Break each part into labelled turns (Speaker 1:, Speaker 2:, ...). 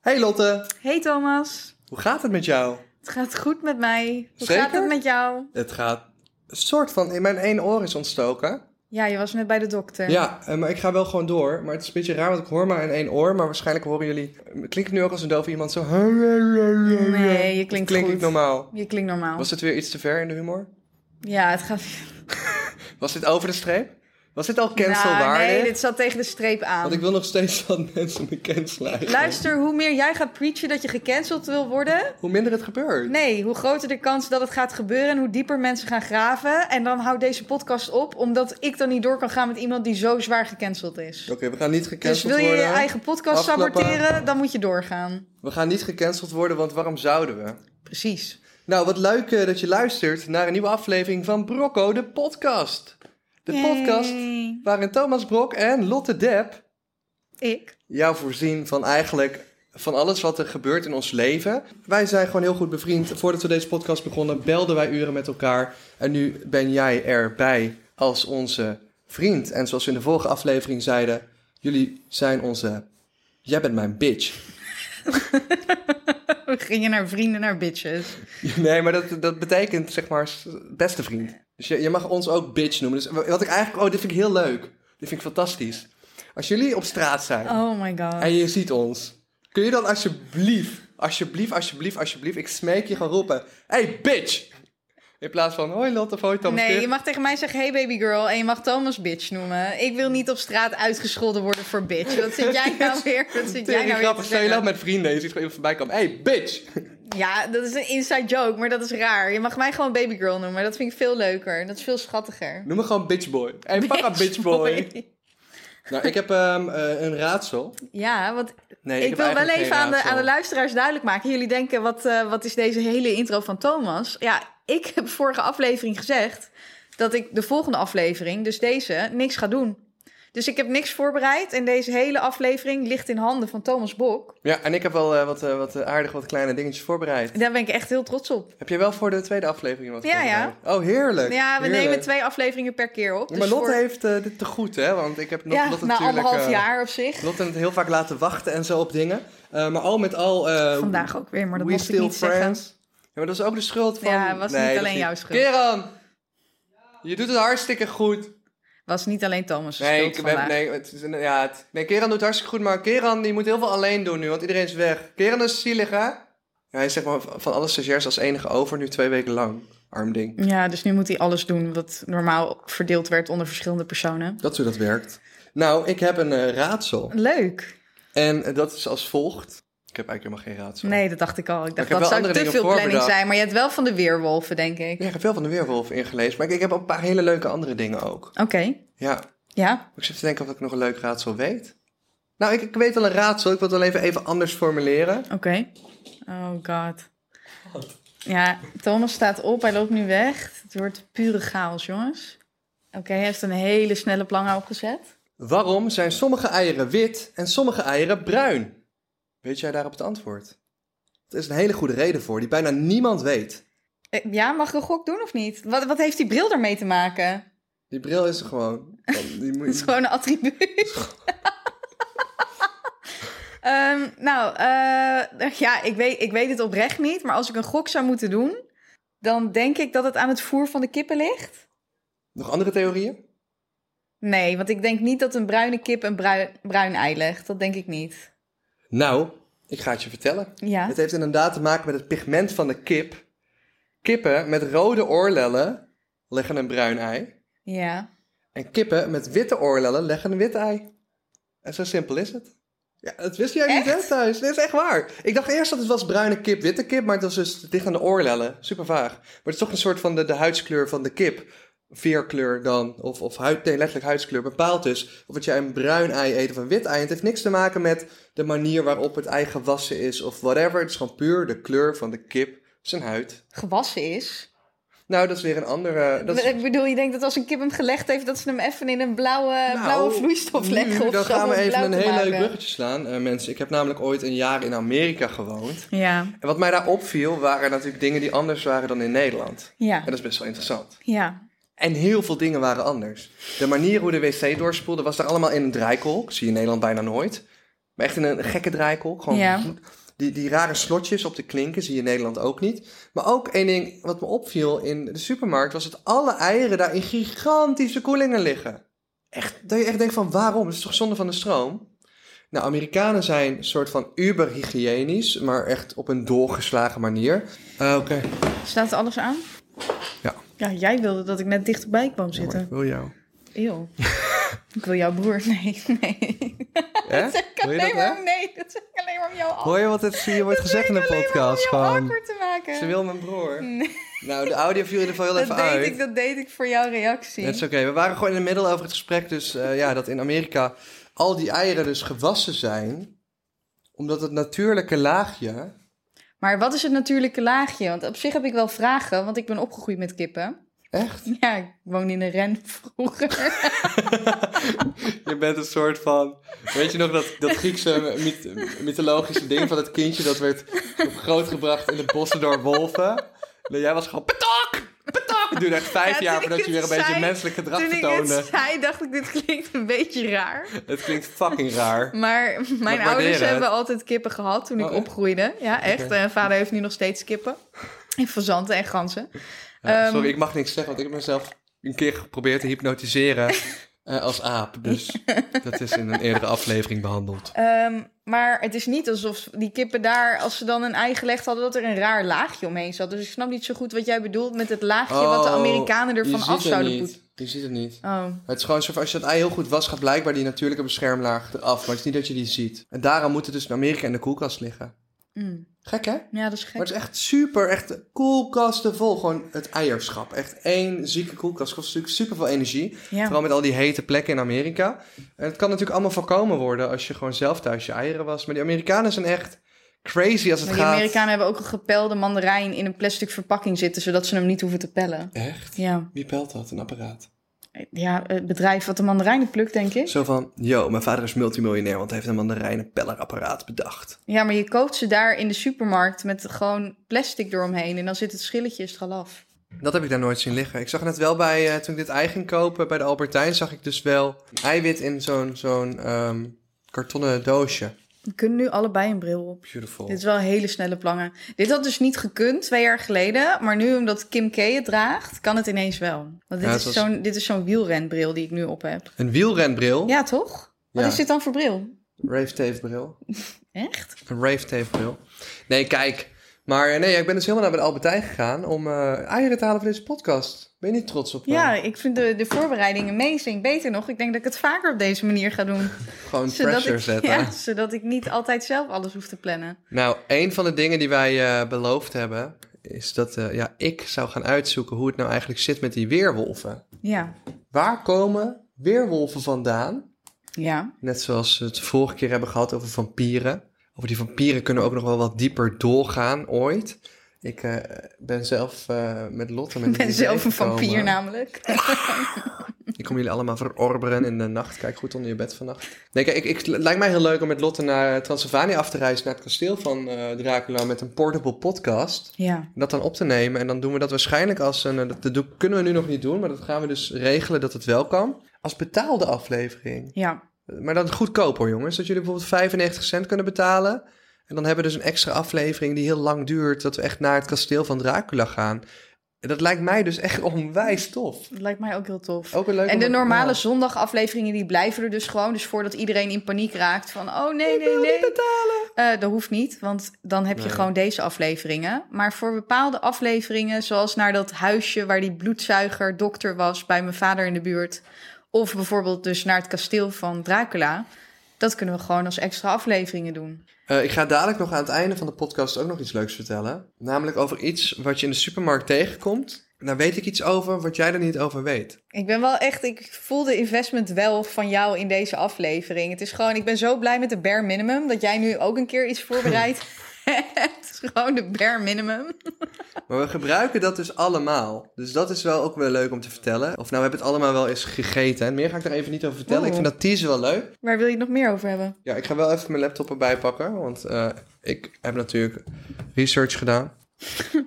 Speaker 1: Hey Lotte,
Speaker 2: Hey Thomas,
Speaker 1: hoe gaat het met jou?
Speaker 2: het gaat goed met mij. Hoe
Speaker 1: Zeker?
Speaker 2: gaat het met jou?
Speaker 1: Het gaat een soort van in mijn één oor is ontstoken.
Speaker 2: Ja, je was net bij de dokter.
Speaker 1: Ja, eh, maar ik ga wel gewoon door. Maar het is een beetje raar, want ik hoor maar in één oor. Maar waarschijnlijk horen jullie... Klinkt het nu ook als een doof iemand zo...
Speaker 2: Nee, je
Speaker 1: Of
Speaker 2: klinkt
Speaker 1: klink
Speaker 2: goed.
Speaker 1: ik normaal?
Speaker 2: Je klinkt normaal.
Speaker 1: Was het weer iets te ver in de humor?
Speaker 2: Ja, het gaat...
Speaker 1: Was dit over de streep? Was dit al cancelwaardig?
Speaker 2: Nou, nee, dit zat tegen de streep aan.
Speaker 1: Want ik wil nog steeds dat mensen me cancelen. eigenlijk.
Speaker 2: Luister, hoe meer jij gaat preachen dat je gecanceld wil worden...
Speaker 1: Hoe minder het gebeurt.
Speaker 2: Nee, hoe groter de kans dat het gaat gebeuren en hoe dieper mensen gaan graven. En dan houdt deze podcast op, omdat ik dan niet door kan gaan met iemand die zo zwaar gecanceld is.
Speaker 1: Oké, we gaan niet
Speaker 2: Dus
Speaker 1: gecanceld
Speaker 2: wil je je
Speaker 1: worden.
Speaker 2: eigen podcast
Speaker 1: Afklappen.
Speaker 2: saboteren, dan moet je doorgaan.
Speaker 1: We gaan niet gecanceld worden, want waarom zouden we?
Speaker 2: Precies.
Speaker 1: Nou, wat leuk eh, dat je luistert naar een nieuwe aflevering van Brocco, de podcast. De
Speaker 2: Yay.
Speaker 1: podcast waarin Thomas Brok en Lotte Depp
Speaker 2: Ik.
Speaker 1: jou voorzien van eigenlijk van alles wat er gebeurt in ons leven. Wij zijn gewoon heel goed bevriend. Voordat we deze podcast begonnen, belden wij uren met elkaar. En nu ben jij erbij als onze vriend. En zoals we in de vorige aflevering zeiden, jullie zijn onze... Jij bent mijn bitch.
Speaker 2: We gingen naar vrienden, naar bitches.
Speaker 1: Nee, maar dat, dat betekent zeg maar s- beste vriend. Dus je, je mag ons ook bitch noemen. Dus wat ik eigenlijk, oh, dit vind ik heel leuk. Dit vind ik fantastisch. Als jullie op straat zijn
Speaker 2: Oh my god.
Speaker 1: en je ziet ons, kun je dan alsjeblieft, alsjeblieft, alsjeblieft, alsjeblieft, ik smeek je gaan roepen: Hey, bitch! In plaats van hoi Lotte, of hoi Thomas.
Speaker 2: Nee,
Speaker 1: Kip."
Speaker 2: je mag tegen mij zeggen, hey baby girl, en je mag Thomas bitch noemen. Ik wil niet op straat uitgescholden worden voor bitch. Wat zit jij nou weer? Wat zit jij
Speaker 1: Tering
Speaker 2: nou weer te
Speaker 1: grappig. Stel je loopt
Speaker 2: zeggen?
Speaker 1: met vrienden en je ziet gewoon iemand voorbij komen: Hey, bitch!
Speaker 2: Ja, dat is een inside joke, maar dat is raar. Je mag mij gewoon baby girl noemen. Dat vind ik veel leuker. Dat is veel schattiger.
Speaker 1: Noem me gewoon bitch boy. Hey, fuck up, bitch boy. Nou, ik heb ehm, eh, een raadsel.
Speaker 2: Ja, want
Speaker 1: Nee,
Speaker 2: ik,
Speaker 1: heb
Speaker 2: wil wel
Speaker 1: eigenlijk geen
Speaker 2: even aan de,
Speaker 1: raadsel.
Speaker 2: aan de luisteraars duidelijk maken. Jullie denken, wat, eh, wat is deze hele intro van Thomas? Ja, ik heb vorige aflevering gezegd dat ik de volgende aflevering, dus deze, niks ga doen. Dus ik heb niks voorbereid en deze hele aflevering ligt in handen van Thomas Bok.
Speaker 1: Ja, en ik heb wel eh, wat, eh, wat eh, aardig wat kleine dingetjes voorbereid.
Speaker 2: En daar ben ik echt heel trots op.
Speaker 1: Heb je wel voor de tweede aflevering wat
Speaker 2: Ja, ja.
Speaker 1: voorbereid? Oh, heerlijk.
Speaker 2: Ja, we
Speaker 1: heerlijk.
Speaker 2: nemen twee afleveringen per keer op.
Speaker 1: Ja, maar
Speaker 2: dus
Speaker 1: Lotte
Speaker 2: voor-
Speaker 1: heeft eh, dit te goed, hè? Want ik heb Lot-
Speaker 2: ja,
Speaker 1: Lotte
Speaker 2: na
Speaker 1: natuurlijk...
Speaker 2: anderhalf
Speaker 1: eh,
Speaker 2: jaar op zich.
Speaker 1: Lotte het heel vaak laten wachten en zo op dingen. Eh, maar al met al... eh,
Speaker 2: Vandaag ook weer, maar dat
Speaker 1: we
Speaker 2: mocht ik
Speaker 1: still
Speaker 2: niet
Speaker 1: friends.
Speaker 2: zeggen.
Speaker 1: Ja, maar dat is ook de schuld van...
Speaker 2: Ja, was niet
Speaker 1: dat is
Speaker 2: alleen jouw schuld.
Speaker 1: Keran! Je doet het hartstikke goed.
Speaker 2: Was niet alleen Thomas'
Speaker 1: Nee,
Speaker 2: schuld
Speaker 1: ik,
Speaker 2: vandaag.
Speaker 1: ben, nee, het is, een- ja, het- nee, Keran doet het hartstikke goed, maar Keran die moet heel veel alleen doen nu, want iedereen is weg. Keran is zielig, hè? Ja, hij is zeg maar van alle stagiairs als enige over, nu twee weken lang. Arm ding.
Speaker 2: Ja, dus nu moet hij alles doen wat normaal verdeeld werd onder verschillende personen.
Speaker 1: Dat is hoe dat werkt. Nou, ik heb een eh, raadsel.
Speaker 2: Leuk.
Speaker 1: En eh, dat is als volgt. Ik heb eigenlijk helemaal geen raadsel.
Speaker 2: Nee, dat dacht ik al. Ik
Speaker 1: heb
Speaker 2: dacht,
Speaker 1: wel
Speaker 2: dat zou
Speaker 1: andere
Speaker 2: te
Speaker 1: dingen
Speaker 2: veel planning
Speaker 1: voorbedacht.
Speaker 2: zijn. Maar je hebt wel van de weerwolven, denk ik.
Speaker 1: Ja, ik heb veel van de Weerwolf ingelezen, maar ik, ik heb ook een paar hele leuke andere dingen ook.
Speaker 2: Oké,
Speaker 1: Ja,
Speaker 2: ja.
Speaker 1: ik zit te denken of ik nog een leuk raadsel weet. Nou, ik, ik weet al een raadsel, ik wil het wel even, even anders formuleren.
Speaker 2: Oké. Oh god. Ja, Thomas staat op. Hij loopt nu weg. Het wordt pure chaos, jongens. Oké, hij heeft een hele snelle plangen opgezet.
Speaker 1: Waarom zijn sommige eieren wit en sommige eieren bruin? Weet jij daarop het antwoord? Er is een hele goede reden voor, die bijna niemand weet.
Speaker 2: Eh, Ja, mag ik een gok doen of niet? Wat, wat heeft die bril ermee te maken?
Speaker 1: Die bril is er gewoon. Die moet
Speaker 2: Het is
Speaker 1: je...
Speaker 2: gewoon een attribuut. Ehm, nou, eh, ja, ik weet, ik weet het oprecht niet. Maar als ik een gok zou moeten doen, dan denk ik dat het aan het voer van de kippen ligt.
Speaker 1: Nog andere theorieën?
Speaker 2: Nee, want ik denk niet dat een bruine kip een bruin, bruin ei legt. Dat denk ik niet.
Speaker 1: Nou, ik ga het je vertellen.
Speaker 2: Ja.
Speaker 1: Het heeft inderdaad te maken met het pigment van de kip. Kippen met rode oorlellen leggen een bruin ei.
Speaker 2: Ja.
Speaker 1: En kippen met witte oorlellen leggen een wit ei. En zo simpel is het. Ja, dat wist jij niet, hè,
Speaker 2: Echt?
Speaker 1: thuis? Dit is echt waar. Ik dacht eerst dat het was bruine kip, witte kip, maar het was dus dicht aan de oorlellen. Super vaag. Maar het is toch een soort van de, de huidskleur van de kip. Veerkleur dan, of, of huid, nee, letterlijk huidskleur, bepaalt dus of het jij een bruin ei eet of een wit ei. Het heeft niks te maken met de manier waarop het ei gewassen is of whatever. Het is gewoon puur de kleur van de kip, zijn huid.
Speaker 2: Gewassen is.
Speaker 1: Nou, dat is weer een andere... Dat is
Speaker 2: Ik bedoel, je denkt dat als een kip hem gelegd heeft, dat ze hem even in een blauwe, Eh, blauwe vloeistof leggen.
Speaker 1: nu, Nou, mm,
Speaker 2: of
Speaker 1: dan
Speaker 2: zo,
Speaker 1: gaan we
Speaker 2: om
Speaker 1: even
Speaker 2: blauw
Speaker 1: een
Speaker 2: te
Speaker 1: heel leuk
Speaker 2: maken.
Speaker 1: bruggetje slaan, eh, mensen. Ik heb namelijk ooit een jaar in Amerika gewoond.
Speaker 2: Ja.
Speaker 1: En wat mij daar opviel, waren natuurlijk dingen die anders waren dan in Nederland.
Speaker 2: Ja.
Speaker 1: En dat is best wel interessant.
Speaker 2: Ja.
Speaker 1: En heel veel dingen waren anders. De manier hoe de wc doorspoelde was daar allemaal in een draaikolk. Zie je in Nederland bijna nooit. Maar echt in een gekke draaikolk. Gewoon
Speaker 2: Ja.
Speaker 1: die, die rare slotjes op de klinken zie je in Nederland ook niet. Maar ook één ding wat me opviel in de supermarkt... was dat alle eieren daar in gigantische koelingen liggen. Echt, dat je echt denkt van waarom? Het is toch zonde van de stroom? Nou, Amerikanen zijn een soort van uber-hygiënisch... maar echt op een doorgeslagen manier. Eh, Oké.
Speaker 2: Staat alles aan?
Speaker 1: Ja.
Speaker 2: Ja, jij wilde dat ik net dichterbij kwam
Speaker 1: Mooi, Ik
Speaker 2: zitten.
Speaker 1: wil jou.
Speaker 2: Eeuw. ik wil jouw broer. Nee, nee.
Speaker 1: Hè?
Speaker 2: Dat zeg ik
Speaker 1: Wil je dat,
Speaker 2: alleen
Speaker 1: hè?
Speaker 2: maar om, nee, dat zeg ik alleen maar om jou af.
Speaker 1: Hoor je wat het hier wordt
Speaker 2: Dat
Speaker 1: gezegd in
Speaker 2: zeg
Speaker 1: de
Speaker 2: ik alleen maar
Speaker 1: podcast?
Speaker 2: Om jou
Speaker 1: Gewoon,
Speaker 2: awkward te maken.
Speaker 1: ze wil mijn broer.
Speaker 2: Nee.
Speaker 1: Nou, de audio viel in ieder geval heel
Speaker 2: dat
Speaker 1: even
Speaker 2: deed
Speaker 1: uit.
Speaker 2: ik, dat deed ik voor jouw reactie.
Speaker 1: Dat is oké. We waren gewoon in het middel over het gesprek. Dus eh, ja, dat in Amerika al die eieren dus gewassen zijn. Omdat het natuurlijke laagje...
Speaker 2: Maar wat is het natuurlijke laagje? Want op zich heb ik wel vragen, want ik ben opgegroeid met kippen.
Speaker 1: Echt?
Speaker 2: Ja, ik woonde in een ren vroeger.
Speaker 1: Je bent een soort van... Weet je nog dat, dat Griekse myth- mythologische ding van het kindje... dat werd grootgebracht in de bossen door wolven? Nou, jij was gewoon... Petok! Petok! Het duurde echt vijf
Speaker 2: Ja,
Speaker 1: jaar
Speaker 2: toen ik
Speaker 1: voordat je
Speaker 2: het
Speaker 1: weer een beetje
Speaker 2: zei-
Speaker 1: menselijk gedrag
Speaker 2: Toen ik het
Speaker 1: vertoonde.
Speaker 2: zei, dacht ik, dit klinkt een beetje raar.
Speaker 1: Het klinkt fucking raar.
Speaker 2: Maar mijn
Speaker 1: waarderen
Speaker 2: ouders
Speaker 1: het.
Speaker 2: hebben altijd kippen gehad toen ik
Speaker 1: Oh, echt?
Speaker 2: opgroeide. Ja, echt.
Speaker 1: Oké.
Speaker 2: En vader heeft nu nog steeds kippen. En fazanten en ganzen.
Speaker 1: Ja,
Speaker 2: Ehm,
Speaker 1: sorry, ik mag niks zeggen, want ik heb mezelf een keer geprobeerd te hypnotiseren eh, als aap. Dus dat is in een eerdere aflevering behandeld.
Speaker 2: Ehm, maar het is niet alsof die kippen daar, als ze dan een ei gelegd hadden, dat er een raar laagje omheen zat. Dus ik snap niet zo goed wat jij bedoelt met het laagje wat de
Speaker 1: Oh,
Speaker 2: Amerikanen
Speaker 1: Je
Speaker 2: ervan
Speaker 1: ziet
Speaker 2: af
Speaker 1: het
Speaker 2: zouden
Speaker 1: niet.
Speaker 2: poetsen.
Speaker 1: Je ziet het niet.
Speaker 2: Oh.
Speaker 1: Het is gewoon zo van, als je het ei heel goed was, gaat blijkbaar die natuurlijke beschermlaag eraf. Maar het is niet dat je die ziet. En daarom moet het dus in Amerika in de koelkast liggen.
Speaker 2: Mm.
Speaker 1: Gek hè?
Speaker 2: Ja, dat is gek.
Speaker 1: Maar het is echt super, echt koelkasten vol. Gewoon het eierschap. Echt één zieke koelkast kost natuurlijk super veel energie.
Speaker 2: ja.
Speaker 1: Vooral met al die hete plekken in Amerika. En het kan natuurlijk allemaal voorkomen worden als je gewoon zelf thuis je eieren was. Maar die Amerikanen zijn echt crazy als het
Speaker 2: Maar die
Speaker 1: gaat.
Speaker 2: Amerikanen hebben ook een gepelde mandarijn in een plastic verpakking zitten, zodat ze hem niet hoeven te pellen.
Speaker 1: Echt?
Speaker 2: Ja,
Speaker 1: Wie pelt dat, een apparaat?
Speaker 2: ja het bedrijf wat de mandarijnen plukt, denk ik.
Speaker 1: Zo van, yo, mijn vader is multimiljonair, want hij heeft een mandarijnenpellerapparaat bedacht.
Speaker 2: Ja, maar je koopt ze daar in de supermarkt met gewoon plastic eromheen. En dan zit het schilletje is er al af.
Speaker 1: Dat heb ik daar nooit zien liggen. Ik zag net wel bij, eh, toen ik dit ei ging kopen bij de Albertijn, zag ik dus wel een eiwit in zo'n zo'n ehm, kartonnen doosje.
Speaker 2: We kunnen nu allebei een bril op.
Speaker 1: Beautiful.
Speaker 2: Dit is wel een hele snelle plangen. Dit had dus niet gekund twee jaar geleden. Maar nu omdat Kim K het draagt, kan het ineens wel. Want dit
Speaker 1: Ja, het
Speaker 2: is
Speaker 1: was-
Speaker 2: zo'n dit is zo'n wielrenbril die ik nu op heb.
Speaker 1: Een wielrenbril.
Speaker 2: Ja, toch? Wat
Speaker 1: Ja.
Speaker 2: is dit dan voor bril?
Speaker 1: Rave Tape bril.
Speaker 2: Echt?
Speaker 1: Een rave tape Nee, kijk. Maar eh, nee, ja, ik ben dus helemaal naar bij de Albertijn gegaan om eh, eieren te halen voor deze podcast. Ben je niet trots op? eh,
Speaker 2: Ja, ik vind de, de voorbereiding amazing. Beter nog, ik denk dat ik het vaker op deze manier ga doen.
Speaker 1: eh, Gewoon pressure
Speaker 2: ik,
Speaker 1: zetten.
Speaker 2: ja, zodat ik niet altijd zelf alles hoef te plannen.
Speaker 1: Nou, een van de dingen die wij eh, beloofd hebben, is dat eh, ja, ik zou gaan uitzoeken hoe het nou eigenlijk zit met die weerwolven.
Speaker 2: Ja,
Speaker 1: Waar komen weerwolven vandaan?
Speaker 2: ja.
Speaker 1: Net zoals we het vorige keer hebben gehad over vampieren. Over die vampieren kunnen we ook nog wel wat dieper doorgaan ooit. Ik eh, ben zelf eh, met Lotte met
Speaker 2: Ik ben
Speaker 1: het
Speaker 2: zelf
Speaker 1: idee
Speaker 2: een vampier
Speaker 1: gekomen.
Speaker 2: namelijk.
Speaker 1: Ik kom jullie allemaal verorberen in de nacht. Kijk goed onder je bed vannacht. Nee, kijk, ik, ik, het lijkt mij heel leuk om met Lotte naar Transylvania af te reizen. Naar het kasteel van eh, Dracula met een portable podcast.
Speaker 2: Ja.
Speaker 1: En Dat dan op te nemen. En dan doen we dat waarschijnlijk als een... eh, Dat, dat doen- kunnen we nu nog niet doen, maar dat gaan we dus regelen dat het wel kan. Als betaalde aflevering.
Speaker 2: Ja.
Speaker 1: Maar dan goedkoop hoor jongens. Dat jullie bijvoorbeeld 95 cent kunnen betalen. En dan hebben we dus een extra aflevering die heel lang duurt. Dat we echt naar het kasteel van Dracula gaan. En Dat lijkt mij dus echt onwijs tof.
Speaker 2: Dat lijkt mij ook heel tof.
Speaker 1: Ook een Oh, leuk
Speaker 2: en de
Speaker 1: om-
Speaker 2: normale
Speaker 1: ja.
Speaker 2: zondagafleveringen die blijven er dus gewoon. Dus voordat iedereen in paniek raakt van... oh nee, nee, nee. Eh, dat hoeft niet, want dan heb je
Speaker 1: Nee.
Speaker 2: gewoon deze afleveringen. Maar voor bepaalde afleveringen, zoals naar dat huisje... waar die bloedzuiger dokter was bij mijn vader in de buurt... of bijvoorbeeld dus naar het kasteel van Dracula... dat kunnen we gewoon als extra afleveringen doen.
Speaker 1: Eh, ik ga dadelijk nog aan het einde van de podcast ook nog iets leuks vertellen. Namelijk over iets wat je in de supermarkt tegenkomt. Daar weet ik iets over wat jij er niet over weet.
Speaker 2: Ik ben wel echt, ik voel de investment wel van jou in deze aflevering. Het is gewoon, ik ben zo blij met de bare minimum dat jij nu ook een keer iets voorbereidt. het is gewoon de bare minimum.
Speaker 1: Maar we gebruiken dat dus allemaal. Dus dat is wel ook wel leuk om te vertellen. Of nou, we hebben het allemaal wel eens gegeten. En meer ga ik daar even niet over vertellen. Ik
Speaker 2: Oeh.
Speaker 1: vind dat teaser wel leuk.
Speaker 2: Waar wil je het nog meer over hebben?
Speaker 1: Ja, ik ga wel even mijn laptop erbij pakken. Want eh, ik heb natuurlijk research gedaan.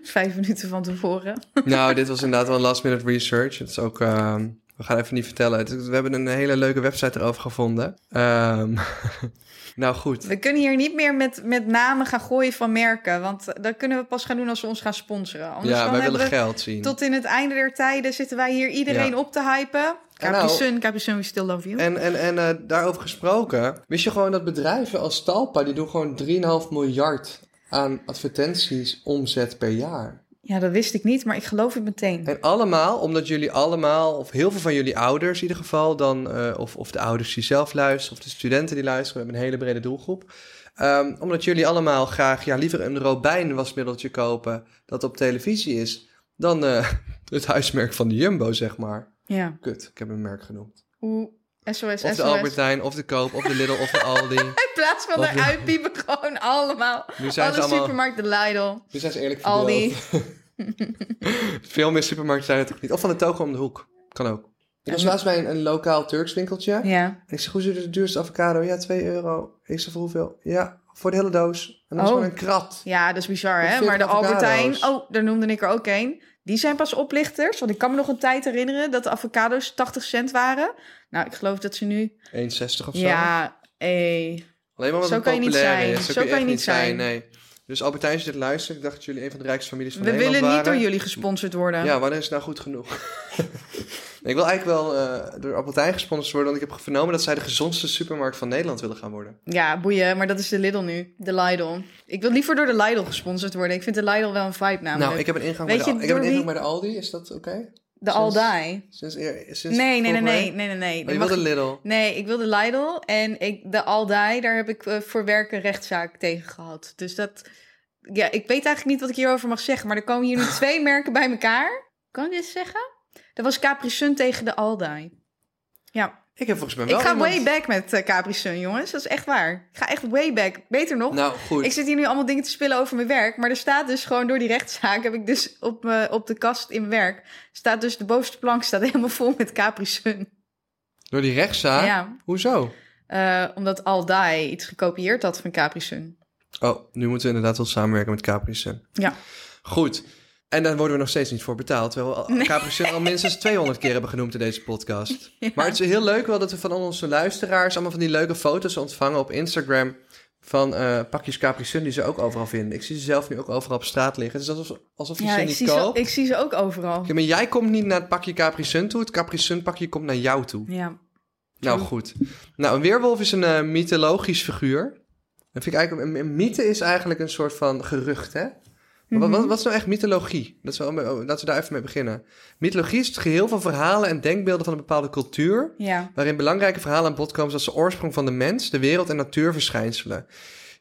Speaker 2: Vijf minuten van tevoren.
Speaker 1: nou, dit was inderdaad wel last minute research. Het is ook ehm, We gaan even niet vertellen. Het- We hebben een hele leuke website erover gevonden. Ehm, nou goed.
Speaker 2: We kunnen hier niet meer met, met namen gaan gooien van merken. Want dat kunnen we pas gaan doen als ze ons gaan sponsoren. Anders
Speaker 1: Ja,
Speaker 2: dan
Speaker 1: wij
Speaker 2: hebben
Speaker 1: willen
Speaker 2: we
Speaker 1: geld zien.
Speaker 2: tot in het einde der tijden zitten wij hier iedereen
Speaker 1: Ja.
Speaker 2: op te hypen.
Speaker 1: En
Speaker 2: Capri
Speaker 1: nou-
Speaker 2: Sun, Capri Sun, we still love you.
Speaker 1: En, en, en eh, daarover gesproken, wist je gewoon dat bedrijven als Talpa, die doen gewoon 3,5 miljard aan advertenties omzet per jaar.
Speaker 2: Ja, dat wist ik niet, maar ik geloof het meteen.
Speaker 1: En allemaal, omdat jullie allemaal, of heel veel van jullie ouders in ieder geval, dan, eh, of, of de ouders die zelf luisteren, of de studenten die luisteren, we hebben een hele brede doelgroep. Ehm, omdat jullie allemaal graag ja, liever een robijnwasmiddeltje kopen dat op televisie is, dan eh, het huismerk van de Jumbo, zeg maar.
Speaker 2: Ja.
Speaker 1: Kut, ik heb een merk genoemd.
Speaker 2: Oeh, SOS,
Speaker 1: Of de
Speaker 2: SOS.
Speaker 1: Albertijn, of de Koop, of de Lidl, of de Aldi.
Speaker 2: In plaats van
Speaker 1: Wat-
Speaker 2: eruit piepen, gewoon allemaal.
Speaker 1: Nu zijn
Speaker 2: Alle
Speaker 1: ze allemaal...
Speaker 2: supermarkten, Lidl,
Speaker 1: Dus dat is eerlijk
Speaker 2: Aldi.
Speaker 1: verdeeld. Veel meer supermarkten zijn het toch niet. Of van de togo om de hoek. Kan ook. Ik was
Speaker 2: Ja.
Speaker 1: laatst bij een, een lokaal Turks winkeltje.
Speaker 2: Ja.
Speaker 1: En ik zeg, hoe zit de duurste avocado? Ja, 2 euro. Ik zeg, voor hoeveel? Ja, voor de hele doos. En dat is
Speaker 2: Oh.
Speaker 1: gewoon een krat.
Speaker 2: ja, dat is bizar,
Speaker 1: Of
Speaker 2: hè?
Speaker 1: veertig
Speaker 2: Maar de Albertijn,
Speaker 1: avocado's.
Speaker 2: oh, daar noemde ik er ook een. Die zijn pas oplichters, want ik kan me nog een tijd herinneren dat de avocado's 80 cent waren. Nou, ik geloof dat ze nu...
Speaker 1: 1,60 of zo.
Speaker 2: Ja, eh.
Speaker 1: Alleen maar omdat
Speaker 2: Zo
Speaker 1: het
Speaker 2: kan je niet
Speaker 1: populair
Speaker 2: zijn.
Speaker 1: is.
Speaker 2: Zo kan
Speaker 1: echt
Speaker 2: je niet zijn.
Speaker 1: Nee. Dus Albertijn, als je dit luistert, ik dacht dat jullie een van de rijkste families van
Speaker 2: we
Speaker 1: Nederland
Speaker 2: willen niet
Speaker 1: waren.
Speaker 2: door jullie gesponsord worden.
Speaker 1: Ja, wanneer is het nou goed genoeg? Nee, ik wil eigenlijk wel eh, door Albertijn gesponsord worden, want ik heb vernomen dat zij de gezondste supermarkt van Nederland willen gaan worden.
Speaker 2: Ja, boeien, maar dat is de Lidl nu. De Lidl. Ik wil liever door de Lidl gesponsord worden. Ik vind de Lidl wel een vibe namelijk.
Speaker 1: Nou, ik heb een ingang, bij
Speaker 2: Weet
Speaker 1: de,
Speaker 2: je
Speaker 1: ik heb een
Speaker 2: door
Speaker 1: ingang
Speaker 2: wie-
Speaker 1: bij de Aldi. Is dat oké?
Speaker 2: de
Speaker 1: sinds-
Speaker 2: Aldai.
Speaker 1: Sinds, eer- sinds
Speaker 2: Nee, nee, nee,
Speaker 1: vorige
Speaker 2: nee,
Speaker 1: week?
Speaker 2: nee, nee, nee.
Speaker 1: Maar
Speaker 2: Dan
Speaker 1: je
Speaker 2: mag
Speaker 1: wilde
Speaker 2: ik-
Speaker 1: Lidl.
Speaker 2: Nee, ik wilde Lidl en ik, de Aldai, daar heb ik eh, voor werk een rechtszaak tegen gehad. Dus dat, ja, ik weet eigenlijk niet wat ik hierover mag zeggen, maar er komen hier nu twee merken bij elkaar. Kan ik dit zeggen? Dat was Capri Sun tegen de Aldai. Ja,
Speaker 1: Ik heb volgens mij
Speaker 2: ik
Speaker 1: wel
Speaker 2: ga
Speaker 1: iemand-
Speaker 2: way back met eh, Capri Sun, jongens. Dat is echt waar. Ik ga echt way back. Beter nog,
Speaker 1: Nou, goed.
Speaker 2: ik zit hier nu allemaal dingen te spillen over mijn werk. Maar er staat dus gewoon door die rechtszaak. Heb ik dus op, me- op de kast in mijn werk. Staat dus de bovenste plank staat helemaal vol met Capri Sun.
Speaker 1: Door die rechtszaak?
Speaker 2: Ja.
Speaker 1: Hoezo?
Speaker 2: Eh, omdat Aldai iets gekopieerd had van Capri Sun.
Speaker 1: Oh, nu moeten we inderdaad wel samenwerken met Capri Sun.
Speaker 2: Ja.
Speaker 1: Goed. En daar worden we nog steeds niet voor betaald. Terwijl we al- Capri Sun al minstens 200 keer hebben genoemd in deze podcast. Maar het is heel leuk wel dat we van al onze luisteraars... allemaal van die leuke foto's ontvangen op Instagram... van eh, pakjes Capri Sun die ze ook overal vinden. Ik zie ze zelf nu ook overal op straat liggen. Het is alsof, alsof je
Speaker 2: Ja,
Speaker 1: ze
Speaker 2: ik
Speaker 1: niet
Speaker 2: zie, ze,
Speaker 1: koopt.
Speaker 2: ik zie ze ook overal.
Speaker 1: Ja, maar jij komt niet naar het pakje Capri Sun toe. Het Capri Sun pakje komt naar jou toe.
Speaker 2: Ja.
Speaker 1: Nou goed. Nou, een weerwolf is een eh, mythologisch figuur. Dat vind ik eigenlijk, een, een mythe is eigenlijk een soort van gerucht, hè? Maar wat, wat, wat is nou echt mythologie? Dat is wel, oh, laten we daar even mee beginnen. Mythologie is het geheel van verhalen en denkbeelden van een bepaalde cultuur...
Speaker 2: Ja.
Speaker 1: waarin belangrijke verhalen aan bod komen... zoals de oorsprong van de mens, de wereld en natuurverschijnselen.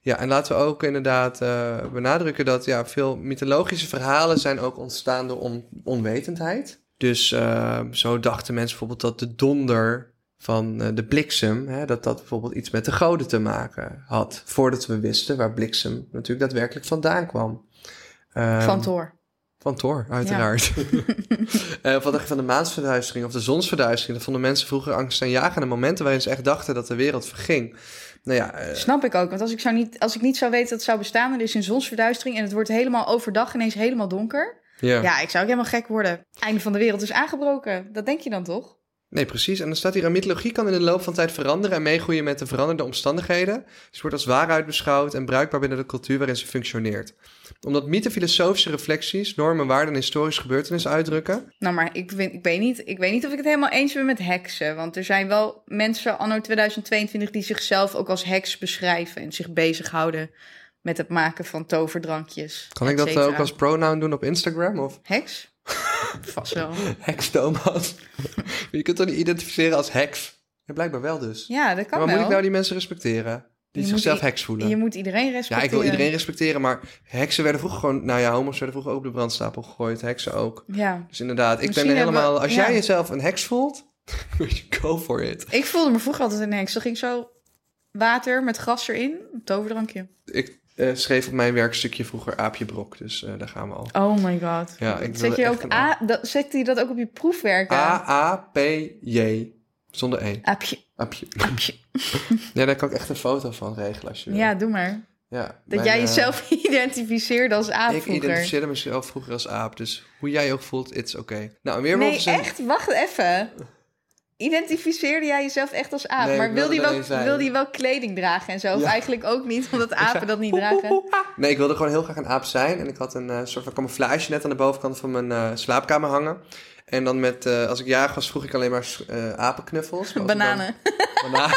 Speaker 1: Ja, en laten we ook inderdaad eh, benadrukken dat ja, veel mythologische verhalen... zijn ook ontstaan door on- onwetendheid. Dus eh, zo dachten mensen bijvoorbeeld dat de donder van eh, de bliksem... Hè, dat dat bijvoorbeeld iets met de goden te maken had... voordat we wisten waar bliksem natuurlijk daadwerkelijk vandaan kwam. Ehm,
Speaker 2: Van Thor.
Speaker 1: van Thor, uiteraard. Eh wat dacht je van de maansverduistering of de zonsverduistering? Dat vonden mensen vroeger angstaanjagende momenten waarin ze echt dachten dat de wereld verging. Nou ja, eh,
Speaker 2: Snap ik ook. Want als ik, zou niet, als ik niet zou weten dat het zou bestaan, er is een zonsverduistering en het wordt helemaal overdag ineens helemaal donker.
Speaker 1: ja.
Speaker 2: Ja, ik zou ook helemaal gek worden. Einde van de wereld is aangebroken. Dat denk je dan toch?
Speaker 1: Nee, precies. En dan staat hier, een mythologie kan in de loop van tijd veranderen en meegroeien met de veranderde omstandigheden. Ze wordt als waarheid beschouwd en bruikbaar binnen de cultuur waarin ze functioneert. Omdat mythen filosofische reflecties, normen, waarden en historische gebeurtenissen uitdrukken.
Speaker 2: Nou, maar ik, vind- ik, weet niet, ik weet niet of ik het helemaal eens ben met heksen. Want er zijn wel mensen anno 2022 die zichzelf ook als heks beschrijven en zich bezighouden met het maken van toverdrankjes.
Speaker 1: Kan
Speaker 2: et
Speaker 1: ik dat eh,
Speaker 2: cetera.
Speaker 1: ook als pronoun doen op Instagram? Of
Speaker 2: heks? Vast wel.
Speaker 1: heks Thomas? je kunt toch niet identificeren als heks? Ja, blijkbaar wel dus.
Speaker 2: Ja, dat kan
Speaker 1: maar
Speaker 2: wel.
Speaker 1: moet ik nou die mensen respecteren? Die
Speaker 2: Je
Speaker 1: zichzelf
Speaker 2: moet i-
Speaker 1: heks voelen.
Speaker 2: Je moet iedereen
Speaker 1: ja,
Speaker 2: respecteren.
Speaker 1: ik wil iedereen respecteren, maar heksen werden vroeger gewoon... Nou ja, homo's werden vroeger ook op de brandstapel gegooid, heksen ook.
Speaker 2: Ja.
Speaker 1: Dus inderdaad, ik
Speaker 2: Misschien
Speaker 1: ben er
Speaker 2: hebben-
Speaker 1: helemaal... Als
Speaker 2: ja.
Speaker 1: jij jezelf een heks voelt, go for it.
Speaker 2: Ik voelde me vroeger altijd een heks. Dan ging ik zo water met gras erin, een toverdrankje.
Speaker 1: Ik eh, schreef op mijn werkstukje vroeger Aapje Brok, dus eh, daar gaan we al.
Speaker 2: Oh my god.
Speaker 1: Ja, ik
Speaker 2: Zet
Speaker 1: wilde
Speaker 2: je
Speaker 1: echt
Speaker 2: ook
Speaker 1: een
Speaker 2: A, dat, zet hij dat ook op je proefwerken?
Speaker 1: A-A-P-J, zonder E.
Speaker 2: Aapje,
Speaker 1: Aapje.
Speaker 2: aapje.
Speaker 1: Ja, daar kan ik echt een foto van regelen als je wil.
Speaker 2: Ja, doe maar.
Speaker 1: Ja,
Speaker 2: Dat
Speaker 1: mijn,
Speaker 2: jij
Speaker 1: eh,
Speaker 2: jezelf identificeerde als aap
Speaker 1: Ik
Speaker 2: vroeger.
Speaker 1: identificeerde mezelf vroeger als aap, dus hoe jij je ook voelt, it's okay. Nou, een weerwolf
Speaker 2: Nee,
Speaker 1: is een-
Speaker 2: echt? Wacht even. Identificeerde jij jezelf echt als aap?
Speaker 1: Nee, ik
Speaker 2: maar wilde
Speaker 1: wilde
Speaker 2: je, wel,
Speaker 1: alleen zijn.
Speaker 2: wilde je wel kleding dragen en zo? Of
Speaker 1: Ja.
Speaker 2: eigenlijk ook niet, omdat apen dat niet
Speaker 1: Oeh, oeh,
Speaker 2: dragen.
Speaker 1: oeh, ah. Nee, ik wilde gewoon heel graag een aap zijn. En ik had een eh, soort van camouflage net aan de bovenkant van mijn eh, slaapkamer hangen. En dan met, eh, als ik jarig was, vroeg ik alleen maar eh, apenknuffels. Maar als ik dan-
Speaker 2: Bananen.
Speaker 1: Bananen.